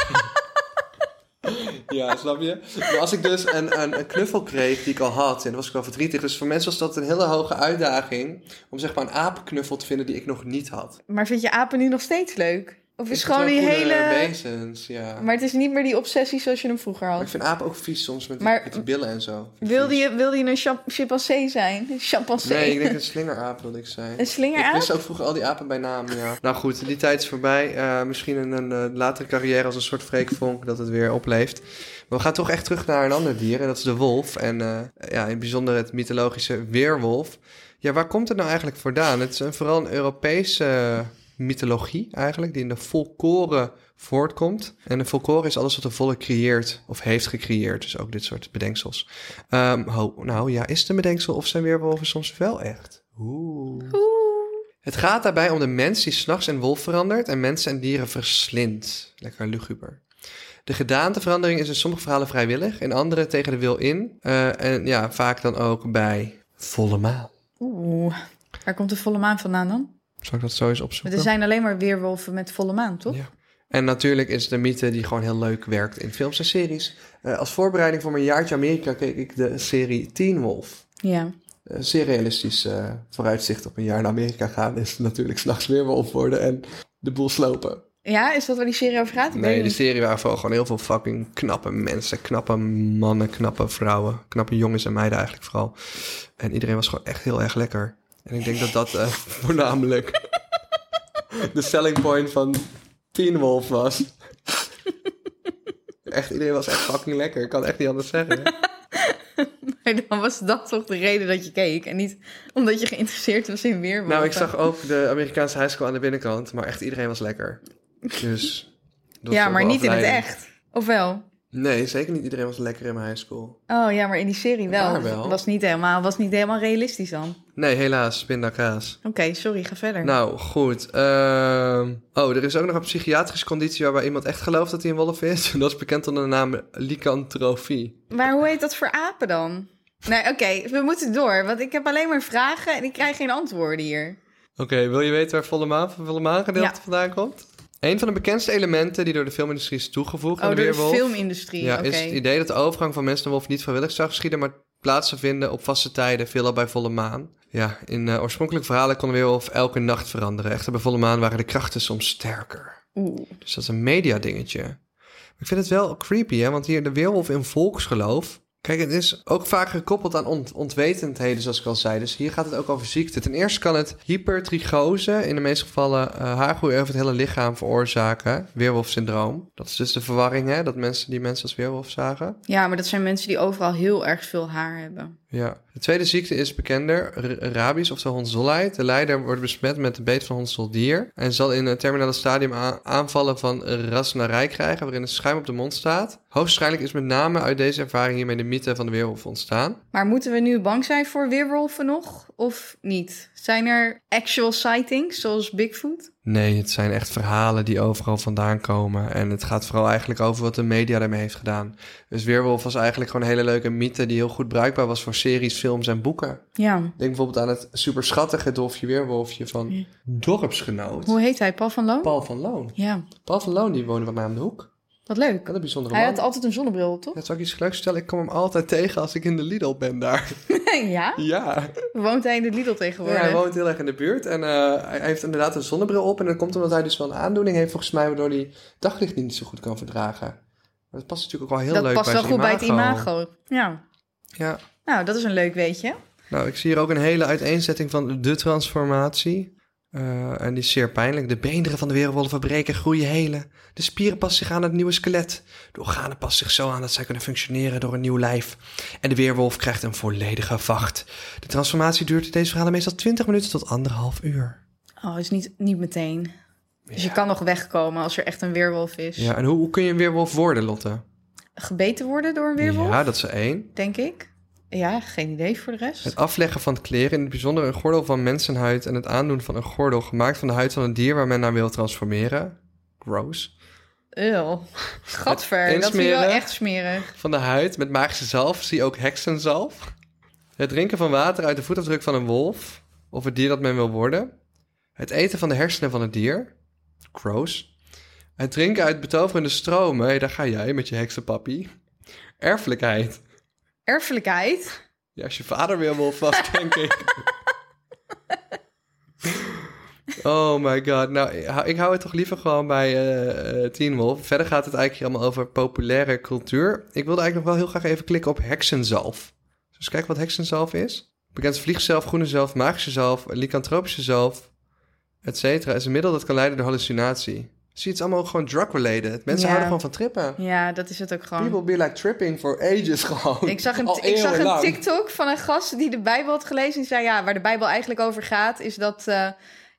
Speaker 1: ja, snap je? Maar als ik dus een, een, een knuffel kreeg die ik al had, en dan was ik wel verdrietig. Dus voor mensen was dat een hele hoge uitdaging om zeg maar een apenknuffel te vinden die ik nog niet had.
Speaker 2: Maar vind je apen nu nog steeds leuk? Of is
Speaker 1: Ik vind
Speaker 2: gewoon
Speaker 1: het
Speaker 2: die
Speaker 1: wel
Speaker 2: hele...
Speaker 1: coole wezens, ja. Maar
Speaker 2: Maar het is niet meer die obsessie zoals je hem vroeger had.
Speaker 1: ik vind apen ook vies soms met, die-
Speaker 2: Maar-
Speaker 1: met die billen en zo. Vind ik
Speaker 2: Wilde
Speaker 1: vies.
Speaker 2: je, wilde je een champ- chimpansee zijn? Chimpansee.
Speaker 1: Nee, ik denk een slingeraap wilde ik zijn.
Speaker 2: Een
Speaker 1: Ik
Speaker 2: slingeraap?
Speaker 1: wist ook vroeger al die apen bij naam, ja. Nou goed, die tijd is voorbij. Eh, misschien in een eh, latere carrière als een soort Freek Vonk dat het weer opleeft. Maar we gaan toch echt terug naar een ander dier en dat is de wolf. En eh, ja, in het bijzonder het mythologische weerwolf. Ja, waar komt het nou eigenlijk vandaan? Het is een, vooral een Europese eh, mythologie eigenlijk, die in de folklore voortkomt. En de folklore is alles wat de volk creëert of heeft gecreëerd. Dus ook dit soort bedenksels. Ehm, ho, nou ja, is het een bedenksel of zijn weerwolven soms wel echt? Oeh.
Speaker 2: Oeh.
Speaker 1: Het gaat daarbij om de mens die s'nachts in wolf verandert en mensen en dieren verslindt. Lekker luguber. De gedaanteverandering is in sommige verhalen vrijwillig, in andere tegen de wil in. eh, en ja, vaak dan ook bij volle maan.
Speaker 2: Oeh. Waar komt de volle maan vandaan dan?
Speaker 1: Zal ik dat zo eens
Speaker 2: Want
Speaker 1: opzoeken?
Speaker 2: er zijn alleen maar weerwolven met volle maan, toch?
Speaker 1: Ja. En natuurlijk is het een mythe die gewoon heel leuk werkt in films en series. Eh, als voorbereiding voor mijn jaartje Amerika keek ik de serie Teen Wolf.
Speaker 2: Ja.
Speaker 1: Een zeer realistisch eh, vooruitzicht op een jaar naar Amerika gaan is natuurlijk s'nachts weer wolf worden en de boel slopen.
Speaker 2: Ja, is dat waar die serie over gaat? Ik weet
Speaker 1: Nee, die
Speaker 2: niet.
Speaker 1: serie waren vooral gewoon heel veel fucking knappe mensen. Knappe mannen, knappe vrouwen. Knappe jongens en meiden eigenlijk vooral. En iedereen was gewoon echt heel erg lekker. En ik denk dat dat eh, voornamelijk de selling point van Teen Wolf was. Echt, iedereen was echt fucking lekker. Ik kan echt niet anders zeggen.
Speaker 2: Maar dan was dat toch de reden dat je keek. En niet omdat je geïnteresseerd was in weerwolven.
Speaker 1: Nou, ik zag ook de Amerikaanse high school aan de binnenkant. Maar echt, iedereen was lekker. Dus... dat is
Speaker 2: Ja,
Speaker 1: ook
Speaker 2: maar
Speaker 1: wel
Speaker 2: niet in het
Speaker 1: afleiding.
Speaker 2: echt. Of wel?
Speaker 1: Nee, zeker niet iedereen was lekker in mijn high school.
Speaker 2: Oh ja, maar in die serie wel.
Speaker 1: Daar wel.
Speaker 2: Was niet helemaal, was niet helemaal realistisch dan.
Speaker 1: Nee, helaas, pindakaas.
Speaker 2: Oké, sorry, ga verder.
Speaker 1: Nou, goed. ehm, oh, er is ook nog een psychiatrische conditie waarbij iemand echt gelooft dat hij een wolf is. Dat is bekend onder de naam lycantrofie.
Speaker 2: Maar hoe heet dat voor apen dan? Nee, oké, we moeten door. Want ik heb alleen maar vragen en ik krijg geen antwoorden hier.
Speaker 1: Oké, wil je weten waar volle maan van volle maan gedeelte
Speaker 2: Ja.
Speaker 1: vandaan komt? Een van de bekendste elementen die door de filmindustrie is toegevoegd
Speaker 2: Oh,
Speaker 1: aan
Speaker 2: door
Speaker 1: de
Speaker 2: de
Speaker 1: weerwolf...
Speaker 2: filmindustrie.
Speaker 1: ja,
Speaker 2: oké.
Speaker 1: is het idee dat de overgang van mensen naar wolf niet vrijwillig zou geschieden, maar plaats zou vinden op vaste tijden, veelal bij volle maan. Ja, in eh, oorspronkelijke verhalen kon de weerwolf elke nacht veranderen. Echter, bij volle maan waren de krachten soms sterker.
Speaker 2: Oeh.
Speaker 1: Dus dat is een mediadingetje. Maar ik vind het wel creepy, hè? Want hier de weerwolf in volksgeloof. Kijk, het is ook vaak gekoppeld aan ont- ontwetendheden, zoals ik al zei. Dus hier gaat het ook over ziekte. Ten eerste kan het hypertrigose, in de meeste gevallen eh haargroei over het hele lichaam veroorzaken. Weerwolfsyndroom. Dat is dus de verwarring, hè? Dat mensen die mensen als weerwolf zagen.
Speaker 2: Ja, maar dat zijn mensen die overal heel erg veel haar hebben.
Speaker 1: Ja. De tweede ziekte is bekender, r- rabies, oftewel hondsdolheid. De lijder wordt besmet met de beet van hondsdoldier en zal in een terminale stadium a- aanvallen van rassenarij krijgen, waarin een schuim op de mond staat. Hoogstwaarschijnlijk is met name uit deze ervaring hiermee de mythe van de weerwolf ontstaan.
Speaker 2: Maar moeten we nu bang zijn voor weerwolven nog? Of niet? Zijn er actual sightings, zoals Bigfoot?
Speaker 1: Nee, het zijn echt verhalen die overal vandaan komen. En het gaat vooral eigenlijk over wat de media daarmee heeft gedaan. Dus Weerwolf was eigenlijk gewoon een hele leuke mythe die heel goed bruikbaar was voor series, films en boeken.
Speaker 2: Ja.
Speaker 1: Denk bijvoorbeeld aan het superschattige dolfje Weerwolfje van Dorpsgenoot.
Speaker 2: Hoe heet hij? Paul van Loon?
Speaker 1: Paul van Loon.
Speaker 2: Ja,
Speaker 1: Paul van Loon die woonde bij mij om de hoek.
Speaker 2: wat leuk.
Speaker 1: Wat een bijzondere
Speaker 2: Hij
Speaker 1: man.
Speaker 2: had altijd een zonnebril, op, toch?
Speaker 1: Dat zou ik iets leuks vertellen. Ik kom hem altijd tegen als ik in de Lidl ben daar.
Speaker 2: ja?
Speaker 1: ja.
Speaker 2: Woont hij in de Lidl
Speaker 1: Ja,
Speaker 2: tegenwoordig?
Speaker 1: Hij woont heel erg in de buurt. En eh, hij heeft inderdaad een zonnebril op. En dat komt omdat hij dus wel een aandoening heeft volgens mij. Waardoor hij daglicht niet zo goed kan verdragen. Maar dat past natuurlijk ook wel heel
Speaker 2: dat
Speaker 1: leuk
Speaker 2: past
Speaker 1: bij
Speaker 2: wel
Speaker 1: zijn
Speaker 2: goed bij het imago. Ja.
Speaker 1: Ja.
Speaker 2: Nou, dat is een leuk weetje.
Speaker 1: Nou, ik zie hier ook een hele uiteenzetting van de transformatie. Eh, en die is zeer pijnlijk. De beenderen van de weerwolven verbreken, groeien hele. De spieren passen zich aan het nieuwe skelet. De organen passen zich zo aan dat zij kunnen functioneren door een nieuw lijf. En de weerwolf krijgt een volledige vacht. De transformatie duurt in deze verhalen meestal 20 minuten tot anderhalf uur.
Speaker 2: Oh, is niet, niet meteen. Dus je
Speaker 1: Ja.
Speaker 2: kan nog wegkomen als er echt een weerwolf is.
Speaker 1: Ja, en hoe, hoe kun je een weerwolf worden, Lotte?
Speaker 2: Gebeten worden door een weerwolf,
Speaker 1: Ja, dat is er één.
Speaker 2: denk ik. Ja, geen idee voor de rest.
Speaker 1: Het afleggen van het kleren, in het bijzonder een gordel van mensenhuid en het aandoen van een gordel gemaakt van de huid van een dier waar men naar wil transformeren. rose.
Speaker 2: Eeuw. Gadver,
Speaker 1: en
Speaker 2: dat vind je wel
Speaker 1: smerig.
Speaker 2: echt smerig.
Speaker 1: Van de huid met magische zalf zie ook heksenzalf. Het drinken van water uit de voetafdruk van een wolf of het dier dat men wil worden. Het eten van de hersenen van het dier. Crows. Het drinken uit betoverende stromen. Hé, daar ga jij met je heksenpappie. Erfelijkheid.
Speaker 2: Erfelijkheid.
Speaker 1: Ja, als je vader weer wil vast, denk ik. Oh my god. Nou, ik hou- ik hou het toch liever gewoon bij eh eh, Teen Wolf. Verder gaat het eigenlijk allemaal over populaire cultuur. Ik wilde eigenlijk nog wel heel graag even klikken op heksenzalf. Dus kijk wat heksenzalf is. Bekend als vliegzalf, groene zalf, magische zalf, lycantropische zalf, et cetera. is een middel dat kan leiden door hallucinatie. Zie, je, het is allemaal ook gewoon drug-related. Mensen
Speaker 2: Ja.
Speaker 1: houden gewoon van trippen.
Speaker 2: Ja, dat is het ook gewoon.
Speaker 1: People be like tripping for ages gewoon.
Speaker 2: Ik zag, een,
Speaker 1: Al
Speaker 2: ik zag een
Speaker 1: eeuwenlang.
Speaker 2: TikTok van een gast die de Bijbel had gelezen. En zei, ja, waar de Bijbel eigenlijk over gaat, is dat eh,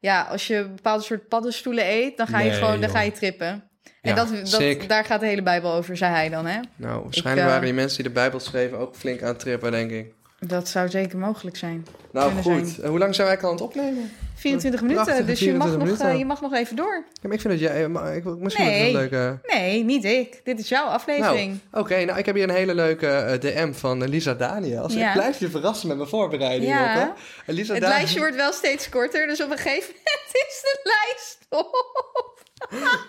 Speaker 2: ja, als je een bepaald soort paddenstoelen eet, dan ga je
Speaker 1: Nee,
Speaker 2: gewoon dan
Speaker 1: joh.
Speaker 2: ga je trippen. En
Speaker 1: Ja,
Speaker 2: dat,
Speaker 1: sick.
Speaker 2: dat, daar gaat de hele Bijbel over, zei hij dan. Hè?
Speaker 1: Nou, waarschijnlijk
Speaker 2: eh,
Speaker 1: waren die mensen die de Bijbel schreven ook flink aan het trippen, denk ik.
Speaker 2: Dat zou zeker mogelijk zijn.
Speaker 1: Nou
Speaker 2: kunnen
Speaker 1: goed, Eh, hoe lang zijn wij eigenlijk aan het opnemen?
Speaker 2: 24
Speaker 1: Prachtige
Speaker 2: minuten, dus je, mag
Speaker 1: 24
Speaker 2: Nog,
Speaker 1: minuten.
Speaker 2: eh, je mag nog even door.
Speaker 1: Ja, maar ik vind dat jij... eh, maar ik, misschien
Speaker 2: Nee.
Speaker 1: een leuke...
Speaker 2: Nee, niet ik. Dit is jouw aflevering.
Speaker 1: Nou, oké, nou ik heb hier een hele leuke eh, DM van eh, Lisa Daniel.
Speaker 2: Ja.
Speaker 1: Ik blijf je verrassen met mijn voorbereiding.
Speaker 2: Ja.
Speaker 1: Lotte. Eh, Lisa
Speaker 2: Het
Speaker 1: Daniel-
Speaker 2: lijstje wordt wel steeds korter, dus op een gegeven moment is de lijst op.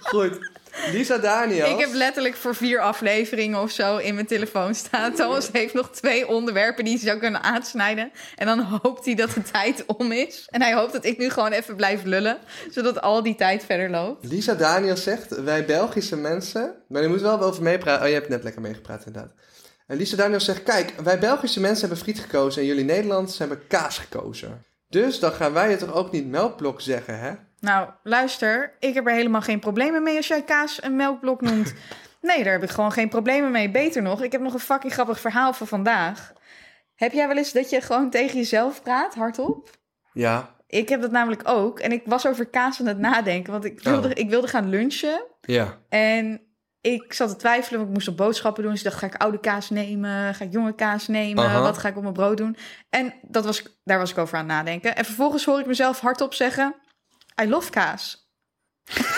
Speaker 1: Goed, Lisa Daniel.
Speaker 2: Ik heb letterlijk voor vier afleveringen of zo in mijn telefoon staan. Thomas heeft nog twee onderwerpen die hij zou kunnen aansnijden. En dan hoopt hij dat de tijd om is. En hij hoopt dat ik nu gewoon even blijf lullen, zodat al die tijd verder loopt.
Speaker 1: Lisa Daniel zegt, wij Belgische mensen... Maar je moet wel over meepraten. Oh, je hebt net lekker meegepraat inderdaad. En Lisa Daniel zegt, kijk, wij Belgische mensen hebben friet gekozen... en jullie Nederlanders hebben kaas gekozen. Dus dan gaan wij het toch ook niet melkblok zeggen, hè?
Speaker 2: Nou, luister, ik heb er helemaal geen problemen mee als jij kaas een melkblok noemt. Nee, daar heb ik gewoon geen problemen mee. Beter nog, ik heb nog een fucking grappig verhaal van vandaag. Heb jij wel eens dat je gewoon tegen jezelf praat, hardop?
Speaker 1: Ja,
Speaker 2: Ik heb dat namelijk ook. En ik was over kaas aan het nadenken, want ik wilde,
Speaker 1: Oh.
Speaker 2: ik wilde gaan lunchen.
Speaker 1: ja.
Speaker 2: En ik zat te twijfelen, want ik moest nog boodschappen doen. Dus ik dacht, ga ik oude kaas nemen? Ga ik jonge kaas nemen?
Speaker 1: Aha.
Speaker 2: Wat ga ik op mijn brood doen? En dat was, ik- daar was ik over aan het nadenken. En vervolgens hoor ik mezelf hardop zeggen, I love kaas.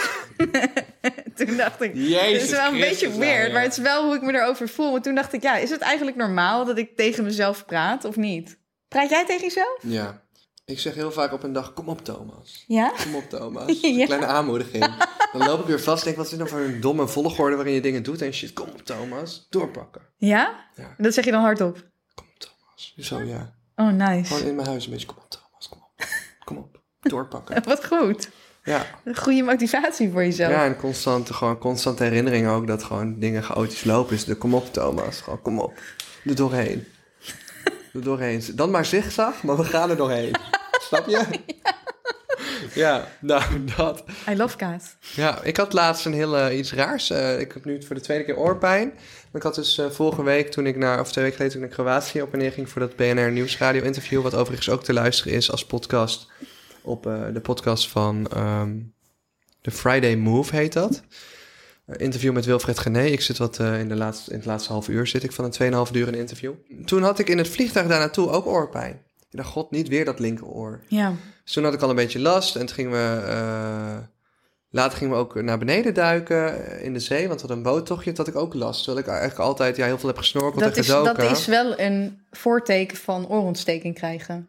Speaker 2: toen dacht ik,
Speaker 1: Jezus
Speaker 2: dit is wel een
Speaker 1: Christus,
Speaker 2: beetje
Speaker 1: nou,
Speaker 2: weird,
Speaker 1: ja.
Speaker 2: maar het is wel hoe ik me erover voel. Want toen dacht ik, ja, is het eigenlijk normaal dat ik tegen mezelf praat of niet? Praat jij tegen jezelf?
Speaker 1: Ja. Ik zeg heel vaak op een dag, kom op Thomas.
Speaker 2: Ja?
Speaker 1: Kom op Thomas. Een
Speaker 2: Ja.
Speaker 1: kleine aanmoediging. Dan loop ik weer vast en denk, wat is dit nou voor een domme volgorde waarin je dingen doet? En shit, kom op Thomas. Doorpakken.
Speaker 2: Ja?
Speaker 1: Ja.
Speaker 2: Dat zeg je dan hardop.
Speaker 1: Kom op Thomas. Zo ja.
Speaker 2: Oh,
Speaker 1: Gewoon
Speaker 2: nice.
Speaker 1: in mijn huis een beetje, kom op Thomas, kom op. Kom op. Doorpakken.
Speaker 2: Wat goed.
Speaker 1: Ja.
Speaker 2: Goede motivatie voor jezelf.
Speaker 1: Ja, en constante, gewoon constante herinnering ook dat gewoon dingen chaotisch lopen. Is de kom op Thomas, gewoon kom op. Er doorheen. Er doorheen. Dan maar zigzag, maar we gaan er doorheen. Snap je? Ja, nou dat.
Speaker 2: I love kaas.
Speaker 1: Ja, ik had laatst een heel eh, iets raars. Eh, ik heb nu voor de tweede keer oorpijn. Maar Ik had dus eh, vorige week, toen ik naar, of twee weken geleden, toen ik naar Kroatië op en neer ging voor dat BNR Nieuwsradio interview. Wat overigens ook te luisteren is als podcast op eh, de podcast van ehm The Friday Move heet dat. Eh, interview met Wilfred Gené. Ik zit wat eh, in, de laatste, in het laatste half uur zit ik van een 2,5 uur een interview. Toen had ik in het vliegtuig daar naartoe ook oorpijn. Ik dacht, god, niet weer dat linkeroor.
Speaker 2: Ja.
Speaker 1: Dus toen had ik al een beetje last en toen gingen we... eh, later gingen we ook naar beneden duiken eh, in de zee, want we hadden een boottochtje. Toen had ik ook last, terwijl ik eigenlijk altijd ja, heel veel heb gesnorkeld
Speaker 2: Dat
Speaker 1: en
Speaker 2: is,
Speaker 1: gedoken.
Speaker 2: dat is wel een voorteken van oorontsteking krijgen.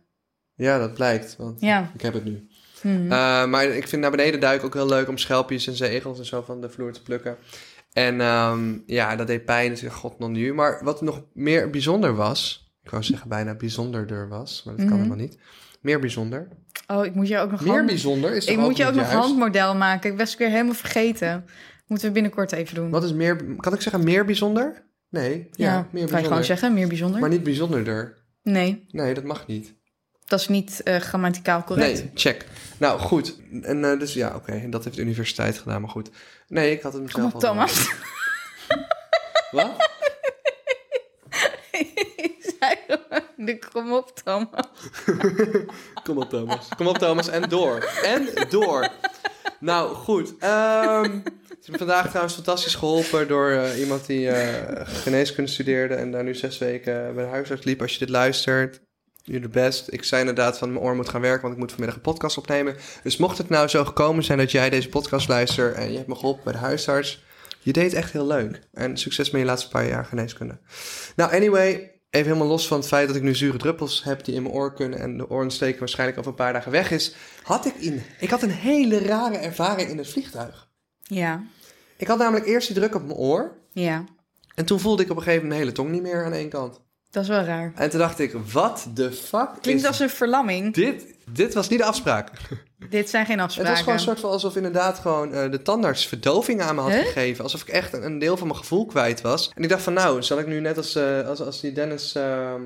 Speaker 1: Ja, dat blijkt, want
Speaker 2: Ja.
Speaker 1: ik heb het nu.
Speaker 2: Hmm.
Speaker 1: Eh, maar ik vind naar beneden duiken ook heel leuk om schelpjes en zeegels en zo van de vloer te plukken. En ehm, ja, dat deed pijn, dus ik dacht, god, nog nu. Maar wat nog meer bijzonder was, ik wou zeggen bijna bijzonderder was, maar dat kan
Speaker 2: Mhm.
Speaker 1: helemaal niet. Meer bijzonder.
Speaker 2: Oh, ik moet je ook nog
Speaker 1: Meer
Speaker 2: hand-
Speaker 1: bijzonder is toch
Speaker 2: Ik moet je
Speaker 1: niet
Speaker 2: ook nog
Speaker 1: juist?
Speaker 2: handmodel maken. Ik was het weer helemaal vergeten. Moeten we binnenkort even doen.
Speaker 1: Wat is meer... Kan ik zeggen meer bijzonder? Nee. Ja,
Speaker 2: Ja,
Speaker 1: meer
Speaker 2: kan
Speaker 1: bijzonder.
Speaker 2: je gewoon zeggen, meer bijzonder.
Speaker 1: Maar niet bijzonderder.
Speaker 2: Nee,
Speaker 1: Nee, dat mag niet.
Speaker 2: dat is niet eh, grammaticaal correct.
Speaker 1: Nee, check. Nou, goed. En eh, dus ja, oké. En dat heeft de universiteit gedaan, maar goed. Nee, ik had hem
Speaker 2: Kom
Speaker 1: zelf
Speaker 2: op,
Speaker 1: al
Speaker 2: Thomas.
Speaker 1: gedaan. Wat?
Speaker 2: Ik zei gewoon, de kom op, Thomas.
Speaker 1: Kom op, Thomas. Kom op, Thomas. En door. En door. Nou, goed. Ehm het is me vandaag trouwens fantastisch geholpen door eh, iemand die eh, geneeskunde studeerde en daar nu zes weken bij de huisarts liep. Als je dit luistert, You're the best. Ik zei inderdaad van mijn oor moet gaan werken, want ik moet vanmiddag een podcast opnemen. Dus mocht het nou zo gekomen zijn dat jij deze podcast luistert en je hebt me geholpen bij de huisarts. Je deed het echt heel leuk. En succes met je laatste paar jaar geneeskunde. Nou, anyway, even helemaal los van het feit dat ik nu zure druppels heb die in mijn oor kunnen en de oorontsteking waarschijnlijk over een paar dagen weg is. Had ik in, ik had een hele rare ervaring in het vliegtuig.
Speaker 2: Ja,
Speaker 1: Ik had namelijk eerst die druk op mijn oor.
Speaker 2: ja.
Speaker 1: En toen voelde ik op een gegeven moment mijn hele tong niet meer aan één kant.
Speaker 2: Dat is wel raar.
Speaker 1: En toen dacht ik, wat de fuck
Speaker 2: Klinkt
Speaker 1: is
Speaker 2: als een verlamming.
Speaker 1: dit? Dit was niet de afspraak.
Speaker 2: Dit zijn geen
Speaker 1: Het
Speaker 2: afspraken.
Speaker 1: was gewoon een soort van alsof inderdaad gewoon eh, de tandarts verdoving aan me had
Speaker 2: Huh?
Speaker 1: gegeven. Alsof ik echt een, een deel van mijn gevoel kwijt was. En ik dacht van nou, zal ik nu net als, eh, als, als die Dennis ehm,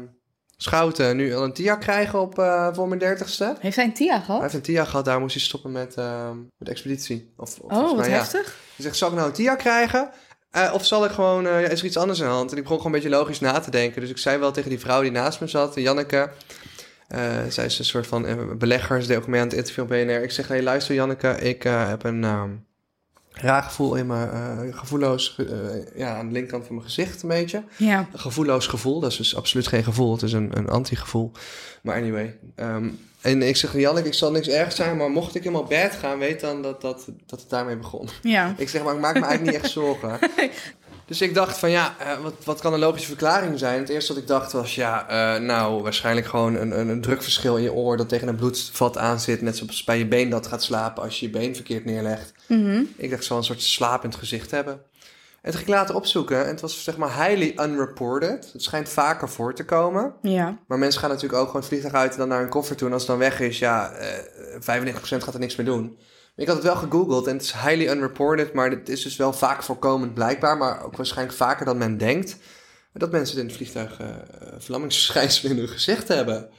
Speaker 1: Schouten nu al een TIA krijgen op, eh, voor mijn dertigste?
Speaker 2: Heeft hij een TIA
Speaker 1: Hij
Speaker 2: gehad?
Speaker 1: heeft een TIA gehad, daar moest hij stoppen met, ehm, met expeditie. Of, of,
Speaker 2: Oh,
Speaker 1: nou
Speaker 2: wat
Speaker 1: ja.
Speaker 2: heftig.
Speaker 1: Ze zegt, zal ik nou een TIA krijgen? Eh, of zal ik gewoon, eh, ja, is er iets anders aan de hand? En ik begon gewoon een beetje logisch na te denken. Dus ik zei wel tegen die vrouw die naast me zat, Janneke. eh, zij is een soort van eh, belegger, ze deed ook mee aan het interview op BNR. Ik zeg, hey, luister Janneke, ik eh, heb een ehm, raar gevoel in mijn, eh, gevoelloos, ge- eh, ja, aan de linkerkant van mijn gezicht een beetje.
Speaker 2: Ja.
Speaker 1: Een gevoelloos gevoel. Dat is dus absoluut geen gevoel. Het is een, een anti-gevoel. Maar anyway. ehm, en ik zeg, Jannik, ik zal niks erg zijn, maar mocht ik helemaal bed gaan, weet dan dat, dat, dat het daarmee begon.
Speaker 2: Ja.
Speaker 1: Ik zeg, maar ik maak me eigenlijk niet echt zorgen. Dus ik dacht van ja, eh, wat, wat kan een logische verklaring zijn? Het eerste wat ik dacht was ja, eh, nou waarschijnlijk gewoon een, een, een drukverschil in je oor dat tegen een bloedvat aan zit. Net zoals bij je been dat gaat slapen als je je been verkeerd neerlegt.
Speaker 2: Mhm.
Speaker 1: Ik dacht, ik zal een soort slapend gezicht hebben. En toen ging ik later opzoeken en het was zeg maar highly unreported. Het schijnt vaker voor te komen.
Speaker 2: Ja.
Speaker 1: Maar mensen gaan natuurlijk ook gewoon het vliegtuig uit en dan naar hun koffer toe. En als het dan weg is, ja, eh 95% gaat er niks meer doen. Maar Ik had het wel gegoogeld en het is highly unreported, maar het is dus wel vaak voorkomend blijkbaar. Maar ook waarschijnlijk vaker dan men denkt. Dat mensen het in het vliegtuig eh verlammingsverschijnselen in hun gezicht hebben.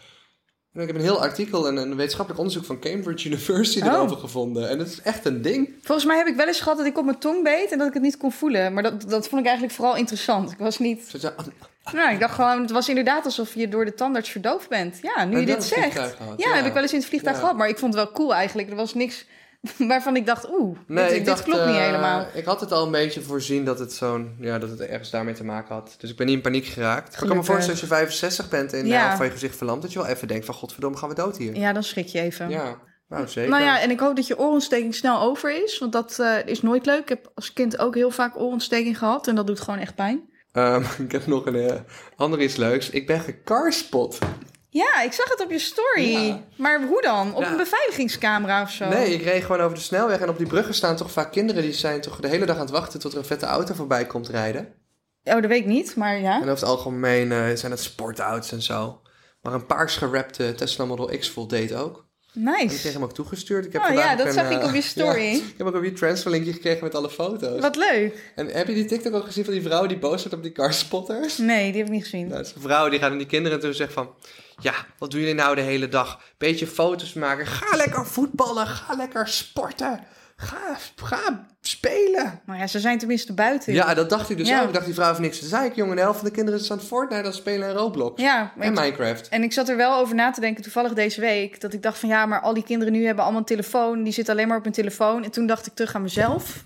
Speaker 1: En ik heb een heel artikel en een wetenschappelijk onderzoek van Cambridge University
Speaker 2: Oh.
Speaker 1: erover gevonden. En het is echt een ding.
Speaker 2: Volgens mij heb ik wel eens gehad dat ik op mijn tong beet en dat ik het niet kon voelen. Maar dat, dat vond ik eigenlijk vooral interessant. Ik was niet...
Speaker 1: Zo- zo-
Speaker 2: Nou, ik dacht gewoon, het was inderdaad alsof je door de tandarts verdoofd bent. Ja, nu
Speaker 1: En
Speaker 2: je
Speaker 1: wel
Speaker 2: dit
Speaker 1: een vliegtuig
Speaker 2: zegt.
Speaker 1: gehad,
Speaker 2: ja,
Speaker 1: ja.
Speaker 2: heb ik wel eens in het vliegtuig
Speaker 1: Ja.
Speaker 2: gehad. Maar ik vond het wel cool eigenlijk. Er was niks waarvan ik dacht, oeh, dit, dit klopt niet
Speaker 1: eh,
Speaker 2: helemaal.
Speaker 1: Ik had het al een beetje voorzien dat het zo'n, ja, dat het ergens daarmee te maken had. Dus ik ben niet in paniek geraakt. Maar Ik kan me
Speaker 2: Gelukkig.
Speaker 1: voorstellen als je 65 bent en de
Speaker 2: Ja.
Speaker 1: helft van je gezicht verlamd, dat je wel even denkt van godverdomme gaan we dood hier. Ja,
Speaker 2: Ja, dan schrik je even.
Speaker 1: nou zeker.
Speaker 2: Nou ja, en ik hoop dat je oorontsteking snel over is. Want dat eh, is nooit leuk. Ik heb als kind ook heel vaak oorontsteking gehad. En dat doet gewoon echt pijn.
Speaker 1: Ehm, ik heb nog een eh, ander iets leuks. Ik ben gecarspot.
Speaker 2: Ja, ik zag het op je story.
Speaker 1: Ja.
Speaker 2: Maar hoe dan? Op
Speaker 1: Ja.
Speaker 2: een beveiligingscamera of zo?
Speaker 1: Nee, ik reed gewoon over de snelweg en op die bruggen staan toch vaak kinderen die zijn toch de hele dag aan het wachten tot er een vette auto voorbij komt rijden.
Speaker 2: Oh, dat weet ik niet, maar ja.
Speaker 1: En over het algemeen eh, zijn het sportouts en zo. Maar een paars gerapte Tesla Model X Volt deed ook. En ik kreeg
Speaker 2: Nice.
Speaker 1: hem ook toegestuurd. Ik heb
Speaker 2: Oh
Speaker 1: vandaag
Speaker 2: ja,
Speaker 1: ook
Speaker 2: dat
Speaker 1: een,
Speaker 2: zag ik
Speaker 1: eh,
Speaker 2: op je story.
Speaker 1: ja, ik heb ook op je transferlinkje gekregen met alle foto's.
Speaker 2: Wat leuk.
Speaker 1: En heb je die TikTok al gezien van die vrouw die boos wordt op die carspotters?
Speaker 2: Nee, die heb ik niet gezien.
Speaker 1: Nou, dat is een vrouw die gaat aan die kinderen toe en zegt van... Ja, wat doen jullie nou de hele dag? Beetje foto's maken. Ga lekker voetballen. Ga lekker sporten. Ga, ga spelen.
Speaker 2: Maar ja, ze zijn tenminste buiten.
Speaker 1: Ja, dat dacht ik dus
Speaker 2: Ja.
Speaker 1: ook. Ik dacht, die vrouw heeft niks te zeiken, jongen. De helft van de kinderen is aan het Fortnite aan het spelen en Roblox.
Speaker 2: Ja, maar
Speaker 1: En
Speaker 2: ik-
Speaker 1: Minecraft.
Speaker 2: en ik zat er wel over na te denken, toevallig deze week. Dat ik dacht van ja, maar al die kinderen nu hebben allemaal een telefoon. Die zitten alleen maar op hun telefoon. En toen dacht ik terug aan mezelf.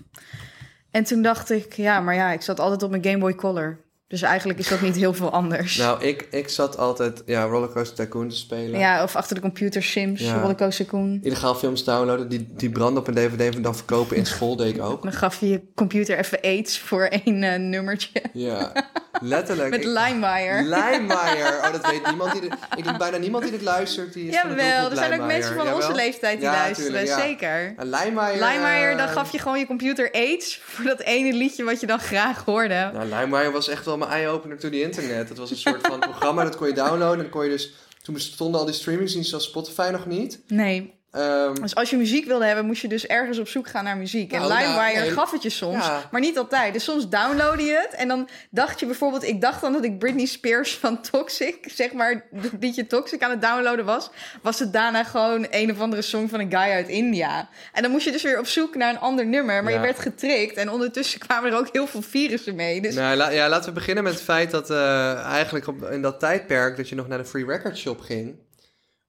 Speaker 2: En toen dacht ik, ja, maar ja, ik zat altijd op mijn Game Boy Color. Dus eigenlijk is dat niet heel veel anders.
Speaker 1: Nou, ik, ik zat altijd ja, Rollercoaster Tycoon te spelen.
Speaker 2: ja, of achter de computer Sims,
Speaker 1: Ja.
Speaker 2: Rollercoaster Tycoon.
Speaker 1: Illegaal films downloaden, die, die branden op een dvd en dan verkopen in school deed ik ook.
Speaker 2: Dan gaf je je computer even aids voor één eh, nummertje.
Speaker 1: Ja, letterlijk.
Speaker 2: Met
Speaker 1: Ik-
Speaker 2: LimeWire.
Speaker 1: Lijmaier. Oh, dat weet niemand. Die dit- ik denk bijna niemand die dit luistert. Die is van de
Speaker 2: Jawel,
Speaker 1: doelgroep
Speaker 2: er zijn ook
Speaker 1: Lijmaier.
Speaker 2: mensen van
Speaker 1: Jawel?
Speaker 2: onze leeftijd die
Speaker 1: Ja,
Speaker 2: luisteren,
Speaker 1: tuurlijk, ja.
Speaker 2: zeker.
Speaker 1: En Lijmaier...
Speaker 2: Limewire,
Speaker 1: eh,
Speaker 2: dan gaf je gewoon je computer aids voor dat ene liedje wat je dan graag hoorde.
Speaker 1: Nou, Lijmaier was echt wel mijn eye-opener to the internet. Dat was een soort van programma, dat kon je downloaden. En dan kon je dus... Toen bestonden al die streamingsdiensten als Spotify nog niet.
Speaker 2: Nee,
Speaker 1: Ehm,
Speaker 2: dus als je muziek wilde hebben, moest je dus ergens op zoek gaan naar muziek.
Speaker 1: Nou,
Speaker 2: en
Speaker 1: nou,
Speaker 2: Limewire
Speaker 1: nee.
Speaker 2: gaf het je soms,
Speaker 1: Ja.
Speaker 2: maar niet altijd. Dus soms downloadde je het en dan dacht je bijvoorbeeld... Ik dacht dan dat ik Britney Spears van Toxic, zeg maar, het liedje Toxic aan het downloaden was. Was het daarna gewoon een of andere song van een guy uit India. En dan moest je dus weer op zoek naar een ander nummer, maar
Speaker 1: Ja.
Speaker 2: je werd getrikt. En ondertussen kwamen er ook heel veel virussen mee, dus...
Speaker 1: Nou, la- ja, laten we beginnen met het feit dat eh, eigenlijk op, in dat tijdperk dat je nog naar de Free Record Shop ging.